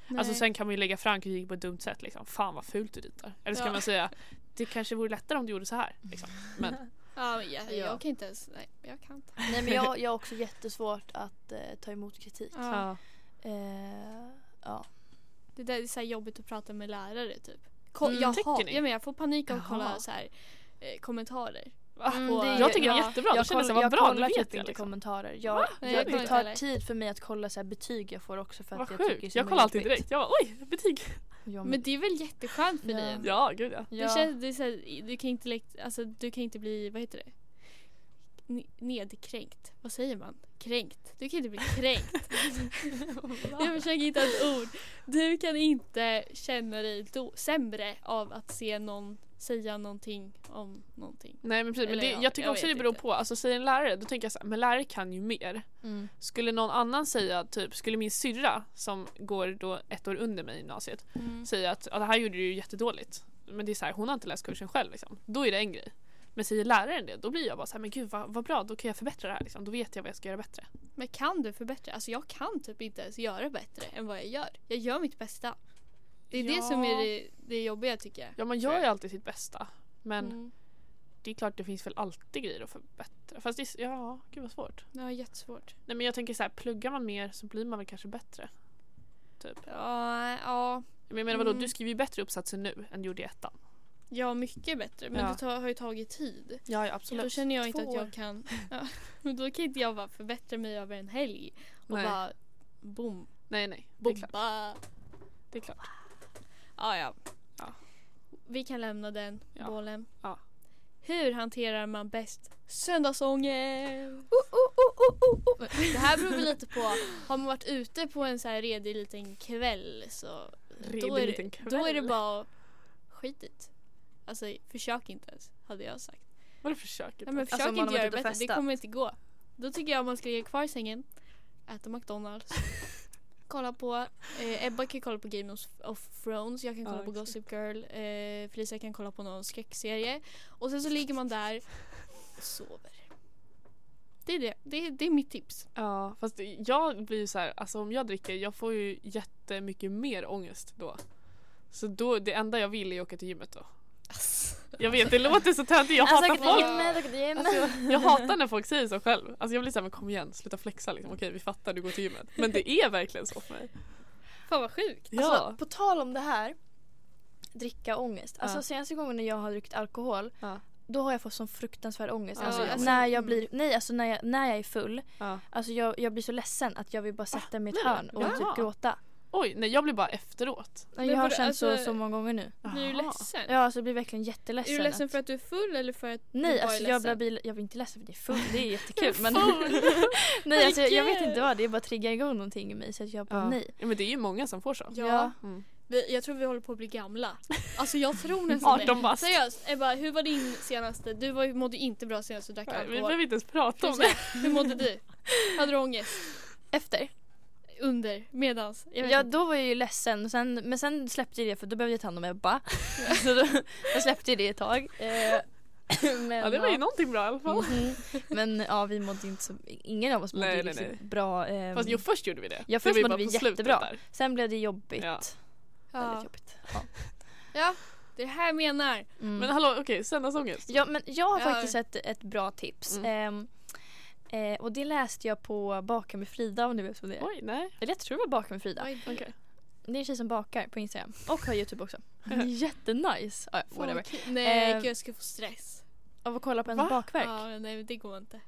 Speaker 3: Alltså
Speaker 1: Nej.
Speaker 3: sen kan man ju lägga fram kritik på ett dumt sätt. Liksom. Fan vad fult du ritar. Eller så kan
Speaker 1: Ja.
Speaker 3: man säga. Det kanske vore lättare om du gjorde så här.
Speaker 2: Mm.
Speaker 3: Liksom. Men
Speaker 1: ja, men, jag,
Speaker 2: Ja.
Speaker 1: jag kan inte ens, nej jag kan inte.
Speaker 2: Nej men jag, jag har också jättesvårt att eh, ta emot kritik.
Speaker 1: Ja.
Speaker 2: Eh, ja.
Speaker 1: Det där är så här jobbigt att prata med lärare typ. Ko-
Speaker 3: Mm.
Speaker 1: jag,
Speaker 3: Tycker
Speaker 1: har,
Speaker 3: ni?
Speaker 1: ja, men jag får panik av att kolla
Speaker 3: Jaha.
Speaker 1: så här, eh, kommentarer.
Speaker 3: Va?
Speaker 2: Mm,
Speaker 1: på-
Speaker 2: det är-
Speaker 3: jag tycker det
Speaker 1: ja,
Speaker 3: är jättebra.
Speaker 2: jag
Speaker 3: Jag känner
Speaker 2: koll-
Speaker 3: såhär, vad
Speaker 2: jag
Speaker 3: bra, nu
Speaker 2: kollar
Speaker 3: vet
Speaker 2: typ
Speaker 3: jag.
Speaker 2: inte
Speaker 3: Liksom.
Speaker 2: kommentarer.
Speaker 3: Va?
Speaker 2: Jag,
Speaker 1: Nej,
Speaker 2: jag,
Speaker 1: jag kollar
Speaker 2: det
Speaker 1: inte
Speaker 2: tar
Speaker 1: heller.
Speaker 2: tid för mig att kolla så här betyg jag får också för att
Speaker 3: Vad
Speaker 2: jag tycker det är
Speaker 3: sjukt.
Speaker 2: så
Speaker 3: Jag kollar alltid
Speaker 2: jobbigt.
Speaker 3: direkt. Jag bara oj, betyg.
Speaker 2: Ja,
Speaker 1: Men det är väl jätteskönt för
Speaker 2: Ja. Mm.
Speaker 1: dig ändå.
Speaker 3: Ja, gud ja.
Speaker 1: Det känns, det är så här, du, kan inte, lekt- alltså, du kan inte bli, vad heter det? N- nedkränkt. Vad säger man? Kränkt. Du kan inte bli kränkt. jag försöker hitta ett ord. Du kan inte känna dig do- sämre av att se någon säga någonting om någonting.
Speaker 3: Nej men precis, men
Speaker 1: Eller
Speaker 3: det,
Speaker 1: ja,
Speaker 3: jag tycker
Speaker 1: jag
Speaker 3: också det
Speaker 1: vet
Speaker 3: beror
Speaker 1: inte.
Speaker 3: på. Alltså säger en lärare, då tänker jag så här, men lärare kan ju mer.
Speaker 2: Mm.
Speaker 3: Skulle någon annan säga, typ, skulle min syrra som går då ett år under mig i gymnasiet
Speaker 1: Mm.
Speaker 3: säga att ja, det här gjorde du ju jättedåligt. Men det är så här, hon har inte läst kursen själv liksom. Då är det en grej. Men säger läraren det, då blir jag bara så här, men gud vad, vad bra, då kan jag förbättra det här liksom. Då vet jag vad jag ska göra bättre.
Speaker 1: Men kan du förbättra? Alltså jag kan typ inte ens göra bättre än vad jag gör. Jag gör mitt bästa. Det är det
Speaker 3: Ja.
Speaker 1: som är det, det jobbiga tycker jag.
Speaker 3: Ja man gör ju alltid sitt bästa. Men
Speaker 1: Mm.
Speaker 3: det är klart det finns väl alltid grejer att förbättra. Fast det är, s- ja, gud vad svårt.
Speaker 1: Det var jättesvårt.
Speaker 3: Nej men jag tänker så här, pluggar man mer så blir man väl kanske bättre.
Speaker 1: Ja, ja,
Speaker 3: Men jag menar vadå,
Speaker 1: Mm.
Speaker 3: du skriver ju bättre uppsatser nu än du gjorde i ettan.
Speaker 1: ja mycket bättre. Men
Speaker 3: Ja.
Speaker 1: det tar, har ju tagit tid.
Speaker 3: Ja, ja
Speaker 1: Då
Speaker 3: absolut.
Speaker 1: känner jag inte
Speaker 2: Två
Speaker 1: att
Speaker 2: år.
Speaker 1: jag kan... Ja, men då kan inte jag bara förbättra mig över en helg och
Speaker 3: Nej.
Speaker 1: bara boom,
Speaker 3: Nej, nej. Det är klart.
Speaker 1: bomba.
Speaker 3: Det är klart.
Speaker 1: Ja, ja.
Speaker 3: Ja.
Speaker 1: Vi kan lämna den
Speaker 3: Ja.
Speaker 1: bollen.
Speaker 3: Ja.
Speaker 1: Hur hanterar man bäst söndagsångest? oh, Det här beror väl lite på. Har man varit ute på en så här redig liten kväll så då, är det, då är det bara skitigt. Alltså försök inte ens hade jag sagt.
Speaker 3: Vadå försöket?
Speaker 1: Nej, men
Speaker 2: Alltså,
Speaker 1: försök
Speaker 2: om man
Speaker 1: inte
Speaker 2: har
Speaker 1: göra det
Speaker 2: varit ute
Speaker 1: bättre,
Speaker 2: och
Speaker 1: det
Speaker 2: festat.
Speaker 1: kommer inte gå. Då tycker jag man ska ligga kvar i sängen, äta McDonalds, kolla på, eh, Ebba kan kolla på Game of, of Thrones, jag kan
Speaker 3: Ja,
Speaker 1: kolla på
Speaker 3: exakt.
Speaker 1: Gossip Girl, eh, Felicia kan kolla på någon skräckserie. Och sen så ligger man där och sover. Det är det. Det är, det är mitt tips.
Speaker 3: Ja, fast jag blir ju så här, alltså om jag dricker, jag får ju jättemycket mer ångest då. Så då, det enda jag vill är att åka till gymmet då. Jag vet, det låter så töntigt, jag
Speaker 1: Alltså,
Speaker 3: hatar
Speaker 2: åker till
Speaker 3: folk.
Speaker 2: gymmet, åker till gymmet.
Speaker 3: Alltså, jag, jag hatar när folk säger så själv. Alltså jag blir såhär, men kom igen, sluta flexa liksom. Okej, vi fattar, du går till gymmet. Men det är verkligen så för mig.
Speaker 1: Fan vad sjukt.
Speaker 3: Ja.
Speaker 2: Alltså, på tal om det här, dricka ångest. Alltså
Speaker 3: Ja.
Speaker 2: senaste gången jag har druckit alkohol,
Speaker 3: Ja.
Speaker 2: då har jag fått sån fruktansvärd ångest.
Speaker 3: Ja,
Speaker 2: alltså,
Speaker 3: alltså-
Speaker 2: när jag blir, nej alltså när jag, när jag är full,
Speaker 3: ja.
Speaker 2: alltså jag, jag blir så ledsen att jag vill bara sätta mig i ett
Speaker 3: Ah, nej,
Speaker 2: hörn och
Speaker 3: jaha.
Speaker 2: typ gråta.
Speaker 3: Oj, nej jag blir bara efteråt.
Speaker 2: Men jag har
Speaker 1: vadå,
Speaker 2: känt så,
Speaker 1: alltså-
Speaker 2: så många gånger
Speaker 3: Eh.
Speaker 2: nu.
Speaker 1: Blir du
Speaker 3: Jaha.
Speaker 1: ledsen?
Speaker 2: Ja alltså jag blir verkligen
Speaker 1: Är
Speaker 2: jätteledsen.
Speaker 1: du ledsen
Speaker 2: att-
Speaker 1: för att du är full eller för att du
Speaker 2: Nej
Speaker 1: bara
Speaker 2: alltså
Speaker 1: är
Speaker 2: jag
Speaker 1: ledsen?
Speaker 2: blir, blir, jag blir inte ledsen för det är full, det är jättekul men
Speaker 3: Full.
Speaker 2: nej alltså jag, jag vet
Speaker 1: Herregud.
Speaker 2: inte vad det är bara triggar igång någonting i mig så att jag bara
Speaker 3: Ja.
Speaker 2: nej.
Speaker 3: Ja, men det är ju många som får så.
Speaker 1: Ja.
Speaker 2: Ja.
Speaker 3: Mm.
Speaker 1: Vi, jag tror vi håller på att bli gamla. Alltså jag tror nästan
Speaker 3: 18
Speaker 1: det.
Speaker 3: bast.
Speaker 1: Seriöst Ebba, hur var din senaste? Du var, ju- mådde inte bra senast du drack
Speaker 3: Nej, Vi
Speaker 1: alkohol.
Speaker 3: behöver inte ens prata om det.
Speaker 1: Precis. Hur mådde du? Hade du ångest?
Speaker 2: Efter?
Speaker 1: Under? Medans? Jag vet
Speaker 2: Ja
Speaker 1: inte.
Speaker 2: då var jag ju ledsen och sen, men sen släppte jag det för då behövde jag ta hand om Ebba. så då, jag släppte ju det ett tag. Eh, men,
Speaker 3: Ja, det var ju någonting bra i alla fall.
Speaker 2: Mhm. Men ja vi mådde inte så, ingen av oss mådde
Speaker 3: Nej, nej,
Speaker 2: liksom
Speaker 3: nej.
Speaker 2: bra. ehm,
Speaker 3: Fast jo, först gjorde vi det.
Speaker 2: Ja,
Speaker 3: Det
Speaker 2: först
Speaker 3: var ju
Speaker 2: mådde
Speaker 3: bara
Speaker 2: vi
Speaker 3: på slutet
Speaker 2: jättebra.
Speaker 3: där.
Speaker 2: Sen blev det jobbigt.
Speaker 3: Ja.
Speaker 1: Ja.
Speaker 2: Väldigt jobbigt. Ja.
Speaker 1: ja, det är det här jag menar.
Speaker 2: Mm.
Speaker 3: Men hallå, okej, söndagsångest.
Speaker 2: Ja, men jag har
Speaker 1: Ja. Mm.
Speaker 2: faktiskt ett, ett bra tips. Ehm, eh, och det läste jag på Baka med Frida om du vet vad det är.
Speaker 3: Oj, nej.
Speaker 2: Eller jag tror det var Baka med Frida.
Speaker 1: Oj,
Speaker 3: Okej.
Speaker 2: Det är en tjej som bakar på Instagram och har Youtube också. Jättenice! Ah, ja, whatever.
Speaker 1: folk- Nej,
Speaker 2: Eh,
Speaker 1: gud jag skulle få stress.
Speaker 2: Av att kolla på ens
Speaker 3: Va?
Speaker 2: bakverk.
Speaker 1: Ja, nej men det går inte.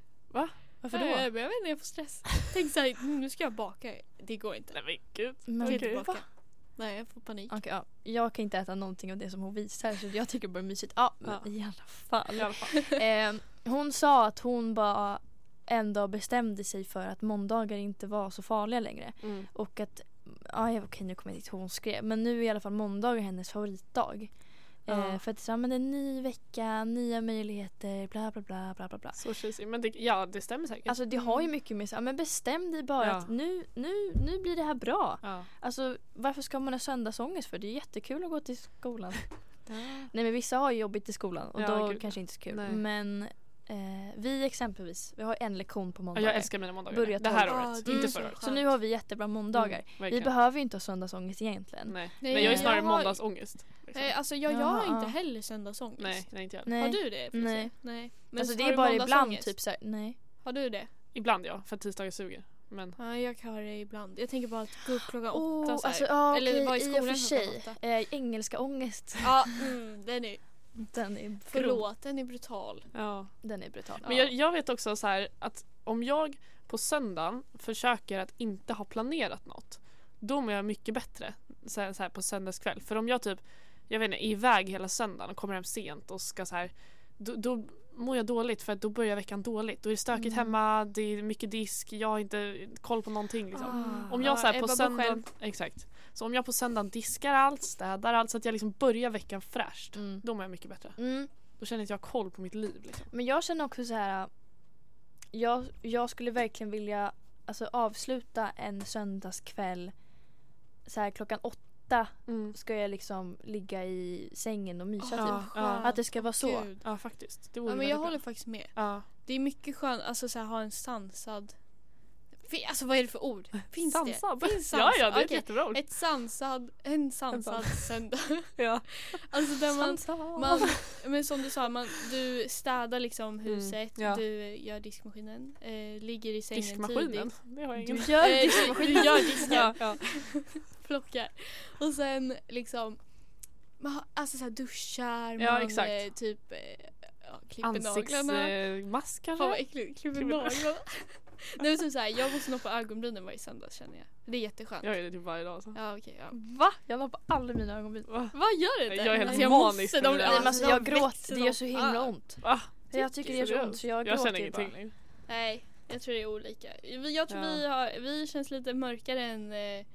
Speaker 2: Varför
Speaker 1: Nej,
Speaker 2: då?
Speaker 1: Jag, jag vet inte, jag får stress. Tänk såhär, "Mm, nu ska jag baka. Det går inte.
Speaker 3: Nej men gud.
Speaker 2: Men
Speaker 1: Jag
Speaker 2: okej,
Speaker 1: kan
Speaker 3: Okej.
Speaker 1: inte
Speaker 2: va?
Speaker 1: baka. Nej, jag får panik.
Speaker 2: ja. Jag kan inte äta någonting av det som hon visar så jag tycker bara det är mysigt. Ja, men
Speaker 3: Ja.
Speaker 2: i alla fall.
Speaker 3: I alla fall.
Speaker 2: Ehm, hon sa att hon bara en dag bestämde sig för att måndagar inte var så farliga längre.
Speaker 3: Mm.
Speaker 2: Och att, ja jag- okej nu kommer jag inte ihåg vad hon skrev men nu är i alla fall måndagar hennes favoritdag. Eh,
Speaker 3: Ja.
Speaker 2: för att så, här, men det är en ny vecka, nya möjligheter, bla bla bla bla bla. bla.
Speaker 3: Så tjusig. Men det, ja, det stämmer säkert.
Speaker 2: Alltså det har ju mycket med så här, men bestäm dig bara
Speaker 3: Mm. Ja.
Speaker 2: att nu, nu, nu blir det här bra.
Speaker 3: ja.
Speaker 2: Alltså varför ska man ha söndagsångest för? Det är jättekul att gå till skolan. Nej men vissa har ju jobbigt i skolan och
Speaker 3: Ja,
Speaker 2: då
Speaker 3: gud.
Speaker 2: kanske inte så kul.
Speaker 3: Nej.
Speaker 2: Men eh, vi exempelvis, vi har en lektion på
Speaker 3: Ja,
Speaker 2: måndagar.
Speaker 3: jag älskar mina måndagar.
Speaker 2: Börja
Speaker 3: det här
Speaker 1: tolv.
Speaker 3: året,
Speaker 1: Ah, det
Speaker 2: är
Speaker 3: inte
Speaker 2: så
Speaker 3: förra året. Mm,
Speaker 1: skönt.
Speaker 2: så nu har vi jättebra måndagar. vi
Speaker 3: Verkligen.
Speaker 2: behöver ju inte ha söndagsångest egentligen.
Speaker 3: Nej.
Speaker 1: Nej,
Speaker 3: Nej, jag är ju snarare
Speaker 1: jag har-
Speaker 3: måndagsångest. Liksom.
Speaker 1: Nej, alltså jag, jag
Speaker 2: Ja,
Speaker 1: har
Speaker 2: ja.
Speaker 1: inte heller söndagsångest.
Speaker 3: nej, nej, inte jag.
Speaker 2: Nej.
Speaker 1: Har du det? Felicia?
Speaker 2: Nej.
Speaker 1: nej.
Speaker 2: alltså det
Speaker 1: har
Speaker 2: är
Speaker 1: du
Speaker 2: bara ibland
Speaker 1: måndagsångest?
Speaker 2: typ såhär, nej.
Speaker 1: Har du det?
Speaker 3: Ibland ja, för tisdagar suger. Men
Speaker 1: Ja, jag har det ibland. Jag tänker bara att gå upp klockan
Speaker 2: Oh,
Speaker 1: åtta så här.
Speaker 2: alltså, ja,
Speaker 1: Eller
Speaker 2: okej,
Speaker 1: vara i
Speaker 2: i och för
Speaker 1: skolan
Speaker 2: sig.
Speaker 1: klockan
Speaker 2: Eh, engelska ångest.
Speaker 1: Ja, mm, den är,
Speaker 2: Den är, grov.
Speaker 1: förlåt, den är brutal.
Speaker 3: ja.
Speaker 2: Den är brutal.
Speaker 3: Men jag, jag vet också så här att om jag på söndagen försöker att inte ha planerat något då mår jag mycket bättre så här, så här på söndagskväll. För om jag typ jag vet inte, är iväg hela söndagen och kommer hem sent och ska så här då, då mår jag dåligt för att då börjar veckan dåligt. Då är det stökigt
Speaker 2: Mm.
Speaker 3: hemma, det är mycket disk, jag har inte koll på någonting liksom.
Speaker 1: Ah.
Speaker 3: Om jag så här
Speaker 1: Ja,
Speaker 3: på
Speaker 1: Ebba bor
Speaker 3: söndagen,
Speaker 1: själv.
Speaker 3: exakt. Så om jag på söndagen diskar allt, städar allt så att jag liksom börjar veckan fräscht.
Speaker 2: Mm.
Speaker 3: Då mår jag mycket bättre.
Speaker 2: Mm.
Speaker 3: Då känner jag att jag har koll på mitt liv liksom.
Speaker 2: Men jag känner också så här. Jag, jag skulle verkligen vilja alltså, avsluta en söndagskväll så här klockan åtta
Speaker 1: Mm.
Speaker 2: ska jag liksom ligga i sängen och mysa
Speaker 3: Ja,
Speaker 2: typ.
Speaker 3: ja.
Speaker 1: Ah,
Speaker 2: Att det ska vara så.
Speaker 1: Gud.
Speaker 3: Ja faktiskt. Det vore
Speaker 1: Ja, men
Speaker 3: väldigt
Speaker 1: jag
Speaker 3: bra.
Speaker 1: håller faktiskt med.
Speaker 3: Ja.
Speaker 1: Det är mycket skönt alltså så här, ha en sansad... Fin- Alltså vad är det för ord? Finns
Speaker 3: Sansad.
Speaker 1: det? Finns
Speaker 3: Ja,
Speaker 1: sansad?
Speaker 3: ja det är ett
Speaker 1: Okej.
Speaker 3: jättebra ord.
Speaker 1: Ett sansad, en sansad söndag.
Speaker 3: Ja.
Speaker 1: Alltså där man,
Speaker 2: Samtal.
Speaker 1: man, men som du sa, man, du städar
Speaker 2: Mm,
Speaker 1: liksom huset,
Speaker 3: ja.
Speaker 1: du eh, gör diskmaskinen, eh, ligger i sängen
Speaker 3: Diskmaskinen.
Speaker 1: tidigt.
Speaker 3: Det har jag
Speaker 2: Du
Speaker 3: ingen.
Speaker 2: gör
Speaker 1: Eh,
Speaker 2: det.
Speaker 1: du gör disken,
Speaker 3: Ja, ja.
Speaker 1: plockar. Och sen liksom, man, har- alltså så här duschar,
Speaker 3: Ja,
Speaker 1: man
Speaker 3: exakt.
Speaker 1: eh, typ eh, ja, klipper naglarna.
Speaker 2: eh,
Speaker 3: Ansiktsmask
Speaker 1: Fan
Speaker 3: eh, kanske?
Speaker 1: vad äckligt, klipper
Speaker 3: Klipper
Speaker 1: naglarna. Nej men typ såhär, jag måste noppa ögonbrynen varje söndag känner jag. Det är jätteskönt.
Speaker 3: Jag gör det typ varje dag. Så.
Speaker 1: Ja okej, ja.
Speaker 2: Va? Jag la på alla mina ögonbryn.
Speaker 3: Va?
Speaker 1: Vad gör det inte?
Speaker 3: Jag är helt
Speaker 1: Alltså, jag
Speaker 3: manisk
Speaker 1: måste,
Speaker 3: med
Speaker 1: de,
Speaker 3: mina
Speaker 2: Nej, men alltså,
Speaker 1: de
Speaker 2: jag gråter,
Speaker 1: växer
Speaker 2: det
Speaker 1: som
Speaker 2: gör så himla
Speaker 1: fan.
Speaker 2: ont.
Speaker 3: Va?
Speaker 2: Jag tycker det gör så ont så jag,
Speaker 3: Jag känner
Speaker 2: gråter ju
Speaker 3: ingenting
Speaker 2: bara.
Speaker 1: typ.
Speaker 3: längre.
Speaker 1: Nej, jag tror det är olika. Vi- Jag tror
Speaker 3: Ja.
Speaker 1: vi, har, vi känns lite mörkare än eh,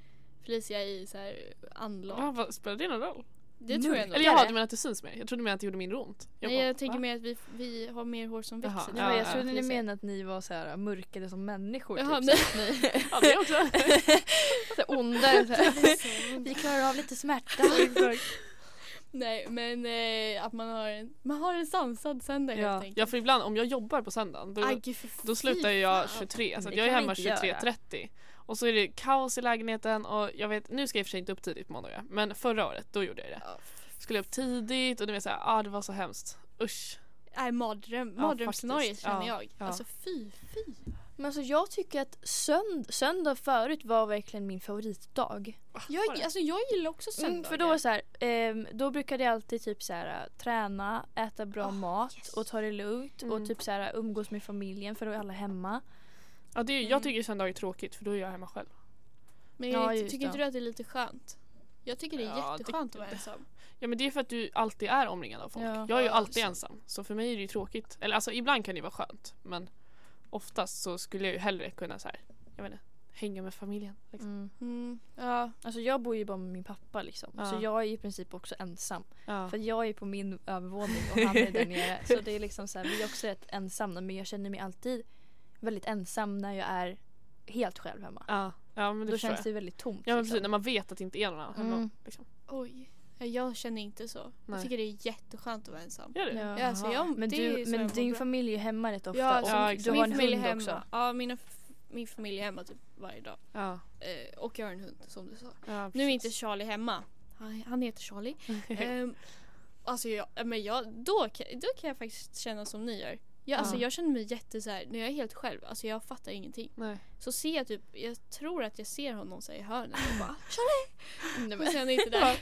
Speaker 1: Felicia i så här anlag.
Speaker 3: Va, vad, spelar det någon roll?
Speaker 1: Det tror jag ändå.
Speaker 3: Eller jaha,
Speaker 2: Mörkare?
Speaker 3: du menar att du syns mer? Jag trodde du menade att det gjorde mindre ont.
Speaker 1: Nej,
Speaker 3: bara,
Speaker 1: jag tänker
Speaker 3: va?
Speaker 1: mer att vi, vi har mer hår som
Speaker 3: Jaha,
Speaker 1: växer.
Speaker 2: Nej, men
Speaker 3: Ja,
Speaker 2: jag
Speaker 3: ja.
Speaker 2: trodde ni menade att ni var så här mörkade som människor.
Speaker 1: Jaha,
Speaker 2: typ,
Speaker 1: nej.
Speaker 2: så att ni
Speaker 3: Ja, det också.
Speaker 2: så här, ondare. Så här.
Speaker 1: Så-
Speaker 2: Vi klarar av lite smärta.
Speaker 3: Exakt.
Speaker 1: Nej men eh, att man har en, man har en sansad söndag helt
Speaker 3: Ja.
Speaker 1: enkelt.
Speaker 3: ja, för ibland om jag jobbar på söndagen då,
Speaker 1: Aj, gud, för
Speaker 3: då slutar
Speaker 1: fy
Speaker 3: ju jag
Speaker 1: fan.
Speaker 3: 23 så att
Speaker 2: Det
Speaker 3: jag är
Speaker 2: kan vi
Speaker 3: hemma
Speaker 2: inte göra.
Speaker 3: 23.30 och så är det kaos i lägenheten och jag vet, nu ska jag i och för sig inte upp tidigt på måndagar men förra året då gjorde jag det.
Speaker 1: Ja,
Speaker 3: Skulle upp tidigt och du vet såhär, ah, det var så hemskt. Usch.
Speaker 1: Nej mardröm,
Speaker 3: Ja,
Speaker 1: mardrömsscenario
Speaker 3: faktiskt.
Speaker 1: känner
Speaker 3: Ja,
Speaker 1: jag.
Speaker 3: ja.
Speaker 1: Alltså fy fy.
Speaker 2: Men alltså jag tycker att sönd- söndag förut var verkligen min favoritdag.
Speaker 3: var
Speaker 1: Jag,
Speaker 3: det?
Speaker 1: alltså, jag gillar också söndagar.
Speaker 2: Mm, för då var det så här, ehm, då brukade jag alltid typ så här, träna, äta bra
Speaker 1: Ah,
Speaker 2: mat
Speaker 1: yes.
Speaker 2: och ta det lugnt
Speaker 3: Mm.
Speaker 2: och typ så här, umgås med familjen för då är alla hemma.
Speaker 3: Ja, det är, ju-
Speaker 1: Mm.
Speaker 3: Jag tycker söndag är tråkigt för då är jag hemma själv.
Speaker 1: Men
Speaker 2: Ja,
Speaker 1: är det-
Speaker 2: just
Speaker 1: tycker inte
Speaker 2: det.
Speaker 1: du att det är lite skönt? Jag tycker det är
Speaker 3: Ja, det-
Speaker 1: jätteskönt att vara ensam.
Speaker 3: Ja men det är för att du alltid är omringad av folk.
Speaker 2: Ja.
Speaker 3: Jag är ju
Speaker 1: Ja,
Speaker 3: alltid
Speaker 1: så.
Speaker 3: ensam så för mig är det ju tråkigt. Eller alltså ibland kan det ju vara skönt men oftast så skulle jag ju hellre kunna så här, jag vet inte, hänga med familjen. Liksom.
Speaker 1: Mm, ja.
Speaker 2: Alltså jag bor ju bara med min pappa liksom.
Speaker 3: Ja.
Speaker 2: Så jag är i princip också ensam.
Speaker 3: Ja.
Speaker 2: För jag är på min övervåning och han är där nere. Så det är liksom så här, vi är också rätt ensamma men jag känner mig alltid väldigt ensam när jag är helt själv hemma.
Speaker 3: Ja, ja men det
Speaker 2: Då
Speaker 3: förstår
Speaker 2: känns
Speaker 3: jag.
Speaker 2: det väldigt tomt.
Speaker 3: Ja men
Speaker 2: liksom.
Speaker 3: precis, när man vet att det inte är någon annan hemma.
Speaker 2: Mm.
Speaker 3: Liksom.
Speaker 1: Oj. Ja, Jag känner inte så. Jag
Speaker 3: Nej.
Speaker 1: tycker det är jätteskönt att vara ensam.
Speaker 3: Gör det?
Speaker 2: Ja.
Speaker 1: Ja, alltså, jag-
Speaker 2: men
Speaker 1: det är ju
Speaker 2: du,
Speaker 1: så
Speaker 2: men
Speaker 1: jag mår
Speaker 2: din
Speaker 1: bra.
Speaker 2: familj är ju hemma rätt ofta
Speaker 1: Ja, alltså,
Speaker 2: och
Speaker 3: ja,
Speaker 2: du
Speaker 3: exakt.
Speaker 2: har en
Speaker 1: min familj
Speaker 2: hund
Speaker 1: är hemma.
Speaker 2: också.
Speaker 1: Ja, mina, f- min familj är hemma typ varje dag.
Speaker 3: Ja.
Speaker 1: Eh, och jag har en hund som du sa.
Speaker 3: Ja,
Speaker 1: Nu är
Speaker 3: precis.
Speaker 1: inte Charlie hemma. Han, han heter Charlie. Ehm, alltså jag, ja, men jag, då, kan- då kan jag faktiskt känna som ni gör. Jag, alltså
Speaker 3: Ja.
Speaker 1: jag känner mig jätte så här, när jag är helt själv, alltså jag fattar ingenting.
Speaker 3: Nej.
Speaker 1: Så ser jag typ, jag tror att jag ser honom så här i hörnet och bara Charlie! Nej, men. Och sen är han inte där.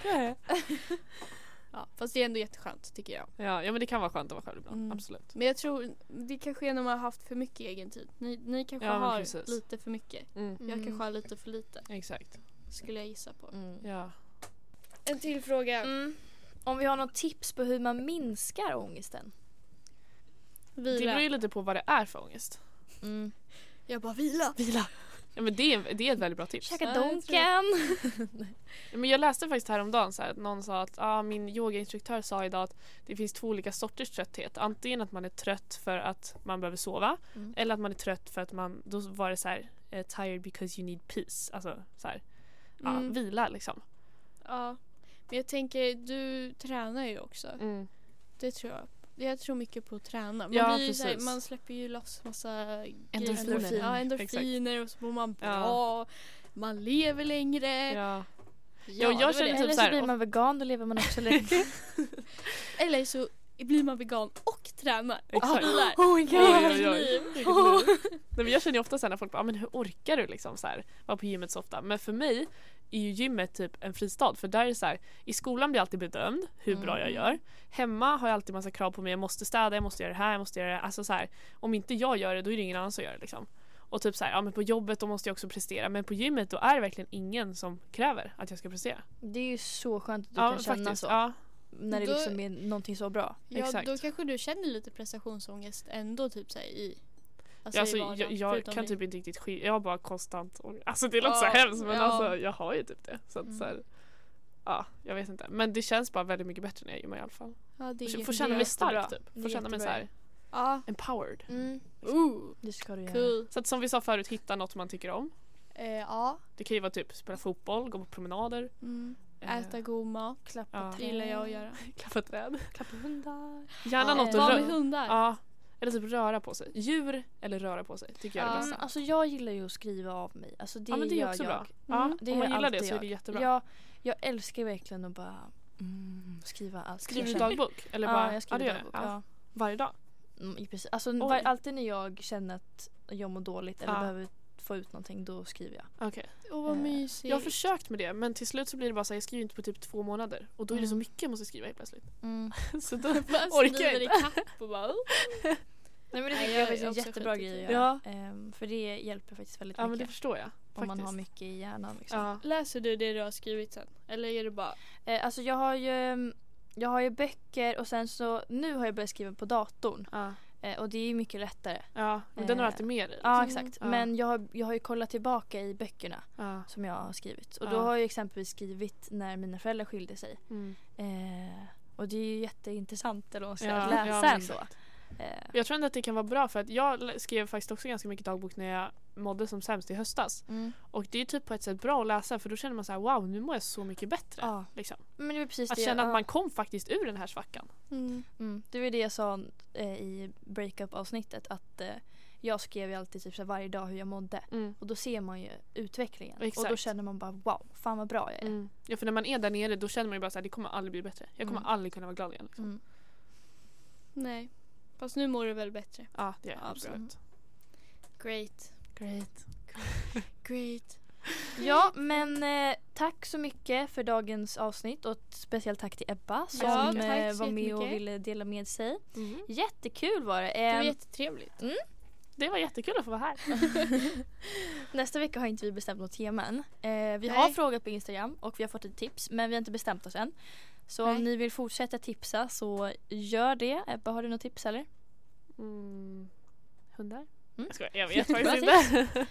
Speaker 1: Ja, fast det är ändå jätteskönt tycker jag.
Speaker 3: Ja, ja men det kan vara skönt att vara själv ibland.
Speaker 1: Mm.
Speaker 3: Absolut.
Speaker 1: Men jag tror det kanske är när man har haft för mycket egen tid. Ni, ni kanske
Speaker 3: Ja, men
Speaker 1: har
Speaker 3: precis.
Speaker 1: lite för mycket.
Speaker 3: Mm.
Speaker 1: Jag kanske har lite för lite
Speaker 3: Exakt.
Speaker 1: skulle jag gissa på.
Speaker 2: Mm.
Speaker 3: Ja.
Speaker 1: En till fråga.
Speaker 2: Mm. Om vi har något tips på hur man minskar ångesten?
Speaker 3: Det
Speaker 1: Vila.
Speaker 3: beror ju lite på vad det är för ångest. Mm.
Speaker 1: Jag bara vila. Vila.
Speaker 3: Ja, men det, är, det är ett väldigt bra tips.
Speaker 2: Käka
Speaker 1: Ja, jag tror
Speaker 2: donken!
Speaker 3: Ja, Men jag läste faktiskt häromdagen så här, att någon sa att ah, min yogainstruktör sa idag att det finns två olika sorters trötthet. Antingen att man är trött för att man behöver sova
Speaker 2: Mm.
Speaker 3: eller att man är trött för att man, då var det så här eh, tired because you need peace. Alltså så här, ja,
Speaker 1: Mm.
Speaker 3: vila liksom.
Speaker 1: Ja. Men jag tänker, du tränar ju också.
Speaker 3: Mm.
Speaker 1: Det tror jag. Jag tror mycket på att träna. Man,
Speaker 3: Ja,
Speaker 1: blir ju så här,
Speaker 3: precis.
Speaker 1: man släpper ju loss massa grejer.
Speaker 3: Endorfiner.
Speaker 1: Ja, endorfiner och så mår man bra.
Speaker 3: Ja.
Speaker 1: Man lever längre. Ja,
Speaker 3: Ja.
Speaker 1: det
Speaker 3: jag
Speaker 1: var
Speaker 3: känner
Speaker 1: det.
Speaker 3: typ
Speaker 2: Eller
Speaker 3: så
Speaker 2: så
Speaker 3: här,
Speaker 2: blir
Speaker 3: och-
Speaker 2: man vegan, då lever man också lite...
Speaker 1: Eller så blir man vegan och tränar och
Speaker 3: Exakt.
Speaker 1: vilar.
Speaker 2: oh my
Speaker 3: Oj,
Speaker 1: Vilket
Speaker 3: oj, oj.
Speaker 1: liv.
Speaker 3: Nej, men jag känner ju ofta så här när folk bara, "Ah, men hur orkar du liksom så här, vara på gymmet så ofta? Men för mig är ju gymmet typ en fristad för där är det så här, i skolan blir jag alltid bedömd hur
Speaker 2: Mm.
Speaker 3: bra jag gör. Hemma har jag alltid massa krav på mig, jag måste städa, jag måste göra det här, jag måste göra det alltså så här. Om inte jag gör det då är det ingen annan som gör det liksom. Och typ så här, ja men på jobbet då måste jag också prestera men på gymmet då är det verkligen ingen som kräver att jag ska prestera.
Speaker 2: Det är ju så skönt att du
Speaker 3: ja
Speaker 2: kan känna
Speaker 3: faktiskt.
Speaker 2: så.
Speaker 3: Ja,
Speaker 2: När det
Speaker 1: Då-
Speaker 2: liksom är någonting så bra.
Speaker 1: Ja,
Speaker 3: Exakt.
Speaker 1: då kanske du känner lite prestationsångest ändå typ så här, i
Speaker 3: alltså,
Speaker 1: i
Speaker 3: jag,
Speaker 1: vardagen,
Speaker 3: jag
Speaker 1: förutom
Speaker 3: kan
Speaker 1: i-
Speaker 3: typ inte riktigt skilja, jag har bara konstant ångest. Alltså det låter
Speaker 1: Ja,
Speaker 3: så hemskt men
Speaker 1: ja.
Speaker 3: alltså jag har ju typ det. Så att,
Speaker 2: Mm.
Speaker 3: så här, ja, jag vet inte. Men det känns bara väldigt mycket bättre när jag gymmar i alla fall.
Speaker 1: Ja, det är
Speaker 3: Får
Speaker 1: jättebra.
Speaker 3: känna mig stark
Speaker 2: Det
Speaker 3: typ.
Speaker 2: är
Speaker 3: Får känna mig så här
Speaker 1: Ja.
Speaker 3: empowered.
Speaker 2: Mm.
Speaker 1: Ooh,
Speaker 2: Det ska du göra.
Speaker 1: cool.
Speaker 3: Så att som vi sa förut, hitta något man tycker om.
Speaker 1: Eh, ja.
Speaker 3: Det kan ju vara typ spela fotboll, gå på promenader,
Speaker 1: Mm.
Speaker 3: eh,
Speaker 1: Äta god mat.
Speaker 2: Klappa
Speaker 3: Ja.
Speaker 1: Det gillar jag att göra.
Speaker 3: klappa träd.
Speaker 2: Klappa hundar.
Speaker 3: Gärna
Speaker 1: Ja,
Speaker 3: något
Speaker 1: vara
Speaker 3: att
Speaker 1: med
Speaker 3: röra
Speaker 1: hundar.
Speaker 3: Ja. Eller typ röra på sig. Djur eller röra på sig tycker jag är det
Speaker 1: Ja.
Speaker 2: Mm,
Speaker 3: bästa.
Speaker 2: alltså jag gillar ju att skriva av mig. Alltså det,
Speaker 3: ja men det är
Speaker 2: gör
Speaker 3: också
Speaker 2: jag.
Speaker 3: bra. Ja,
Speaker 2: det
Speaker 3: om
Speaker 2: gör
Speaker 3: man gillar det
Speaker 2: alltid
Speaker 3: så är det
Speaker 2: jag.
Speaker 3: jättebra.
Speaker 2: Jag, jag älskar verkligen att bara mm, skriva allt.
Speaker 3: Skriver
Speaker 2: jag
Speaker 3: du
Speaker 2: känner.
Speaker 3: dagbok? Eller
Speaker 2: Ja,
Speaker 3: bara,
Speaker 2: jag skriver
Speaker 3: det gör
Speaker 2: dagbok.
Speaker 3: jag.
Speaker 2: Ja.
Speaker 3: Varje dag?
Speaker 2: Mm, i precis. Alltså,
Speaker 3: Oj.
Speaker 2: var, alltid när jag känner att jag mår dåligt eller
Speaker 3: Ja.
Speaker 2: behöver få ut någonting då skriver jag.
Speaker 3: Okej.
Speaker 1: Åh vad
Speaker 2: Eh,
Speaker 1: mysigt.
Speaker 3: Jag har försökt med det men till slut så blir det bara så här, jag skriver inte på typ två månader och då är det så
Speaker 2: Mm.
Speaker 3: mycket jag måste skriva helt plötsligt.
Speaker 2: Mm.
Speaker 3: Så då,
Speaker 1: Man
Speaker 3: orkar
Speaker 1: skriver
Speaker 3: inte.
Speaker 1: ikapp och bara oh.
Speaker 2: Nej, men det
Speaker 1: Nej,
Speaker 2: tycker
Speaker 1: jag-
Speaker 2: jag faktiskt
Speaker 1: jag
Speaker 2: är
Speaker 1: har
Speaker 2: en
Speaker 1: också
Speaker 2: jättebra
Speaker 1: skjutit
Speaker 2: grej
Speaker 1: i
Speaker 2: att
Speaker 3: det.
Speaker 2: göra. Ehm, för det hjälper faktiskt väldigt
Speaker 3: ja men det
Speaker 2: mycket.
Speaker 3: förstår jag.
Speaker 2: Om
Speaker 3: Faktiskt.
Speaker 2: man har mycket i hjärnan. Liksom.
Speaker 3: Ja.
Speaker 1: Läser du det du har skrivit sen? Eller är det bara...
Speaker 2: Eh, alltså jag har ju ehm, jag har ju böcker och sen så nu har jag börjat skriva på datorn
Speaker 3: Ja.
Speaker 2: eh, och det är ju mycket lättare.
Speaker 3: ja. Men den har
Speaker 2: Eh,
Speaker 3: alltid med dig.
Speaker 2: Ja
Speaker 1: Mm.
Speaker 2: exakt
Speaker 3: Ja.
Speaker 2: men jag har, jag har ju kollat tillbaka i böckerna
Speaker 3: Ja.
Speaker 2: som jag har skrivit och då
Speaker 3: Ja.
Speaker 2: har jag exempelvis skrivit när mina föräldrar skilde sig
Speaker 3: Mm.
Speaker 2: eh, och det är ju jätteintressant eller vad man ska
Speaker 3: Ja,
Speaker 2: säga, att läsa
Speaker 3: ja, men
Speaker 2: ändå.
Speaker 3: exakt.
Speaker 2: Eh,
Speaker 3: Jag tror ändå att det kan vara bra för att jag l- skrev faktiskt också ganska mycket dagbok när jag mådde som sämst i höstas.
Speaker 2: mm.
Speaker 3: Och det är ju typ på ett sätt bra att läsa för då känner man så här: wow nu mår jag så mycket bättre.
Speaker 2: Ja.
Speaker 3: Liksom.
Speaker 2: Men det var precis
Speaker 3: Att
Speaker 2: det jag-
Speaker 3: känna att
Speaker 2: ja.
Speaker 3: man kom faktiskt ur den här svackan.
Speaker 1: Mm.
Speaker 2: Mm. Det var det jag sa eh, i breakup avsnittet att eh, jag skrev ju alltid typ så här varje dag hur jag mådde och då ser man ju utvecklingen och då
Speaker 3: Exakt.
Speaker 2: känner man bara wow, fan vad bra jag är.
Speaker 3: Mm. Ja för när man är där nere då känner man ju bara såhär det kommer aldrig bli bättre. Jag kommer
Speaker 2: Mm.
Speaker 3: aldrig kunna vara glad igen. Liksom.
Speaker 2: Mm.
Speaker 1: Nej. Fast nu mår du väl bättre?
Speaker 3: Ja det är jag
Speaker 1: Ja,
Speaker 3: absolut.
Speaker 1: Great.
Speaker 3: Great.
Speaker 1: Great.
Speaker 2: Ja, men eh, tack så mycket för dagens avsnitt och ett speciellt tack till Ebba som
Speaker 1: Ja, tack så
Speaker 2: eh, var med och
Speaker 1: jättemycket.
Speaker 2: ville dela med sig.
Speaker 3: Mm.
Speaker 2: Jättekul var det.
Speaker 1: Det var
Speaker 2: Eh,
Speaker 1: jättetrevligt.
Speaker 3: Det var jättekul att få vara här.
Speaker 2: nästa vecka har inte vi bestämt något tema än. Eh, vi
Speaker 1: Nej.
Speaker 2: har frågat på Instagram och vi har fått ett tips men vi har inte bestämt oss än. Så
Speaker 1: Nej.
Speaker 2: om ni vill fortsätta tipsa så gör det. Ebba, har du något tips eller?
Speaker 3: Mm. Hundar?
Speaker 2: Mm.
Speaker 3: Jag skojar, jag vet faktiskt
Speaker 2: Bra
Speaker 3: inte.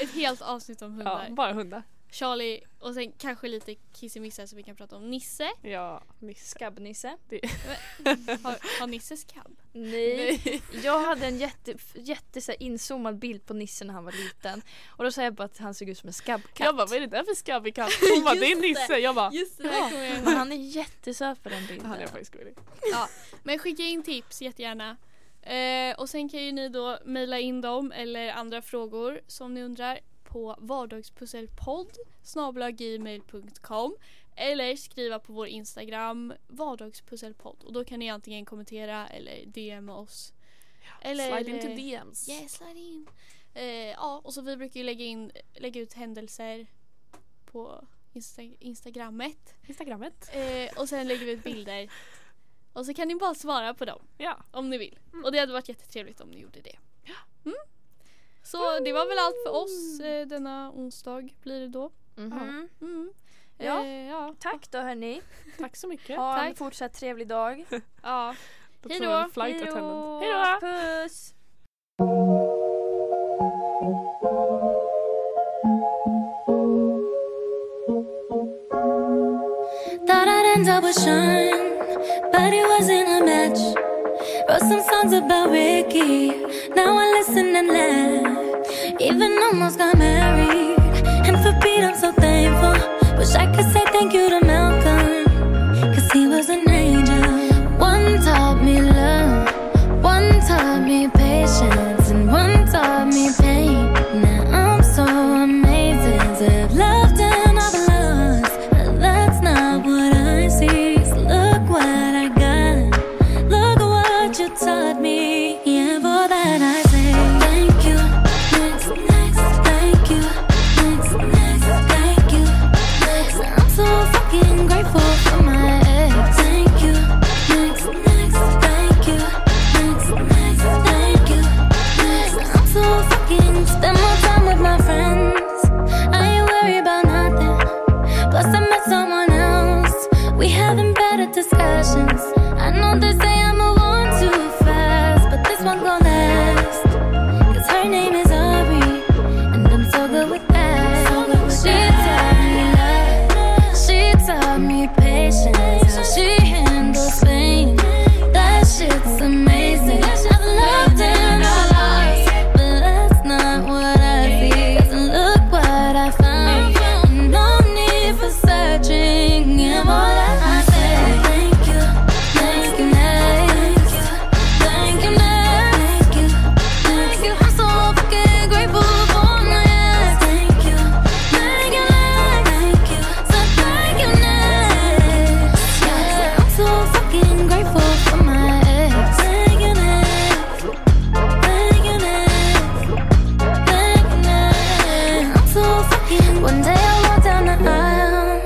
Speaker 1: Ett helt avsnitt om
Speaker 3: ja,
Speaker 1: hundar.
Speaker 3: bara hundar.
Speaker 1: Charlie och sen kanske lite kissemissar så vi kan prata om Nisse.
Speaker 3: Ja, Nisse.
Speaker 2: Skabbnisse?
Speaker 1: Har, har Nisse skabb?
Speaker 2: Nej. Jag hade en jätte, jätte så här, inzoomad bild på Nisse när han var liten. Och då sa jag bara att han såg ut som en skabbkatt.
Speaker 3: Jag bara, vad är det där för skabbig katt? Hon bara, det är
Speaker 1: Just det.
Speaker 3: Nisse. Jag bara,
Speaker 1: Just det,
Speaker 2: Ja.
Speaker 1: där kommer jag
Speaker 2: Men
Speaker 1: ihåg.
Speaker 2: han är jättesöt på den bilden.
Speaker 3: han är faktiskt gullig.
Speaker 1: Men skicka in tips jättegärna. Eh, och sen kan ju ni då mejla in dem eller andra frågor som ni undrar på vardagspusselpodd gmail.com eller skriva på vår Instagram vardagspusselpodd och då kan ni antingen kommentera eller DM oss. Eller,
Speaker 3: Slide into DMs.
Speaker 1: Yeah, slide in. Eh, ja, och så vi brukar ju lägga, in, lägga ut händelser på Insta Instagrammet.
Speaker 3: Instagrammet.
Speaker 1: Eh, och sen lägger vi ut bilder. Och så kan ni bara svara på dem
Speaker 3: Ja.
Speaker 1: om ni vill. Och det hade varit jättetrevligt om ni gjorde det. Mm. Så det var väl allt för oss eh, denna onsdag blir det då.
Speaker 2: Mhm.
Speaker 1: Mm.
Speaker 2: Ja.
Speaker 1: Eh, ja.
Speaker 2: Tack då hörni.
Speaker 3: Tack så mycket.
Speaker 2: Ha en
Speaker 1: Tack.
Speaker 2: fortsatt trevlig dag.
Speaker 1: ja.
Speaker 3: Då
Speaker 1: Hej
Speaker 3: tror
Speaker 1: då.
Speaker 3: jag en Flight attendant. Hej då.
Speaker 2: Puss.
Speaker 4: Thought I'd end up with Sean, but it wasn't a match. Wrote some songs about Ricky, now I listen and laugh. Even almost got married, and for Pete I'm so thankful. Wish I could say thank you to Malcolm, cause he was an angel. One taught me love, one taught me patience, and one taught me pain. Now I'm so amazing, I've loved and I've lost. But that's not what I see. So look what I got. Look what you taught me. Yeah, for that I say thank you. Next, next, thank you. Next, next, thank you. Next, I'm so fucking grateful for my ex. Thank you. Next, next, thank you. Next, next, thank you. Next, I'm so fucking spend more time with my friends. I ain't worried about nothing. Plus, I met someone else. We having better discussions. I know they say I'm a one too fast, but this one gon' last. Cause her name is Ari, and I'm so good with that. She taught me love, she taught me patience. How she handles pain. That shit's amazing. I've loved and I lost, but that's not what I see. And look what I found. And no need for searching. And all that I say, thank you, thank you, thank you, thank you, thank you, thank you. I'm so fucking grateful for my ass. Thank you, thank you, thank you, so thank you, next. Yeah, I'm so fucking grateful for my ex. Thank you, next. Thank you, next. I'm so fucking. One day I'll walk down the aisle,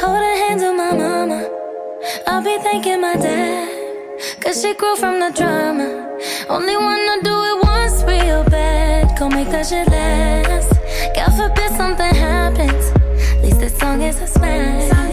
Speaker 4: holding hands with my mama. I'll be thanking my dad, cause she grew from the drama. Only wanna do it once real bad, gon' make that shit last. God forbid something happens, at least this song is a smash.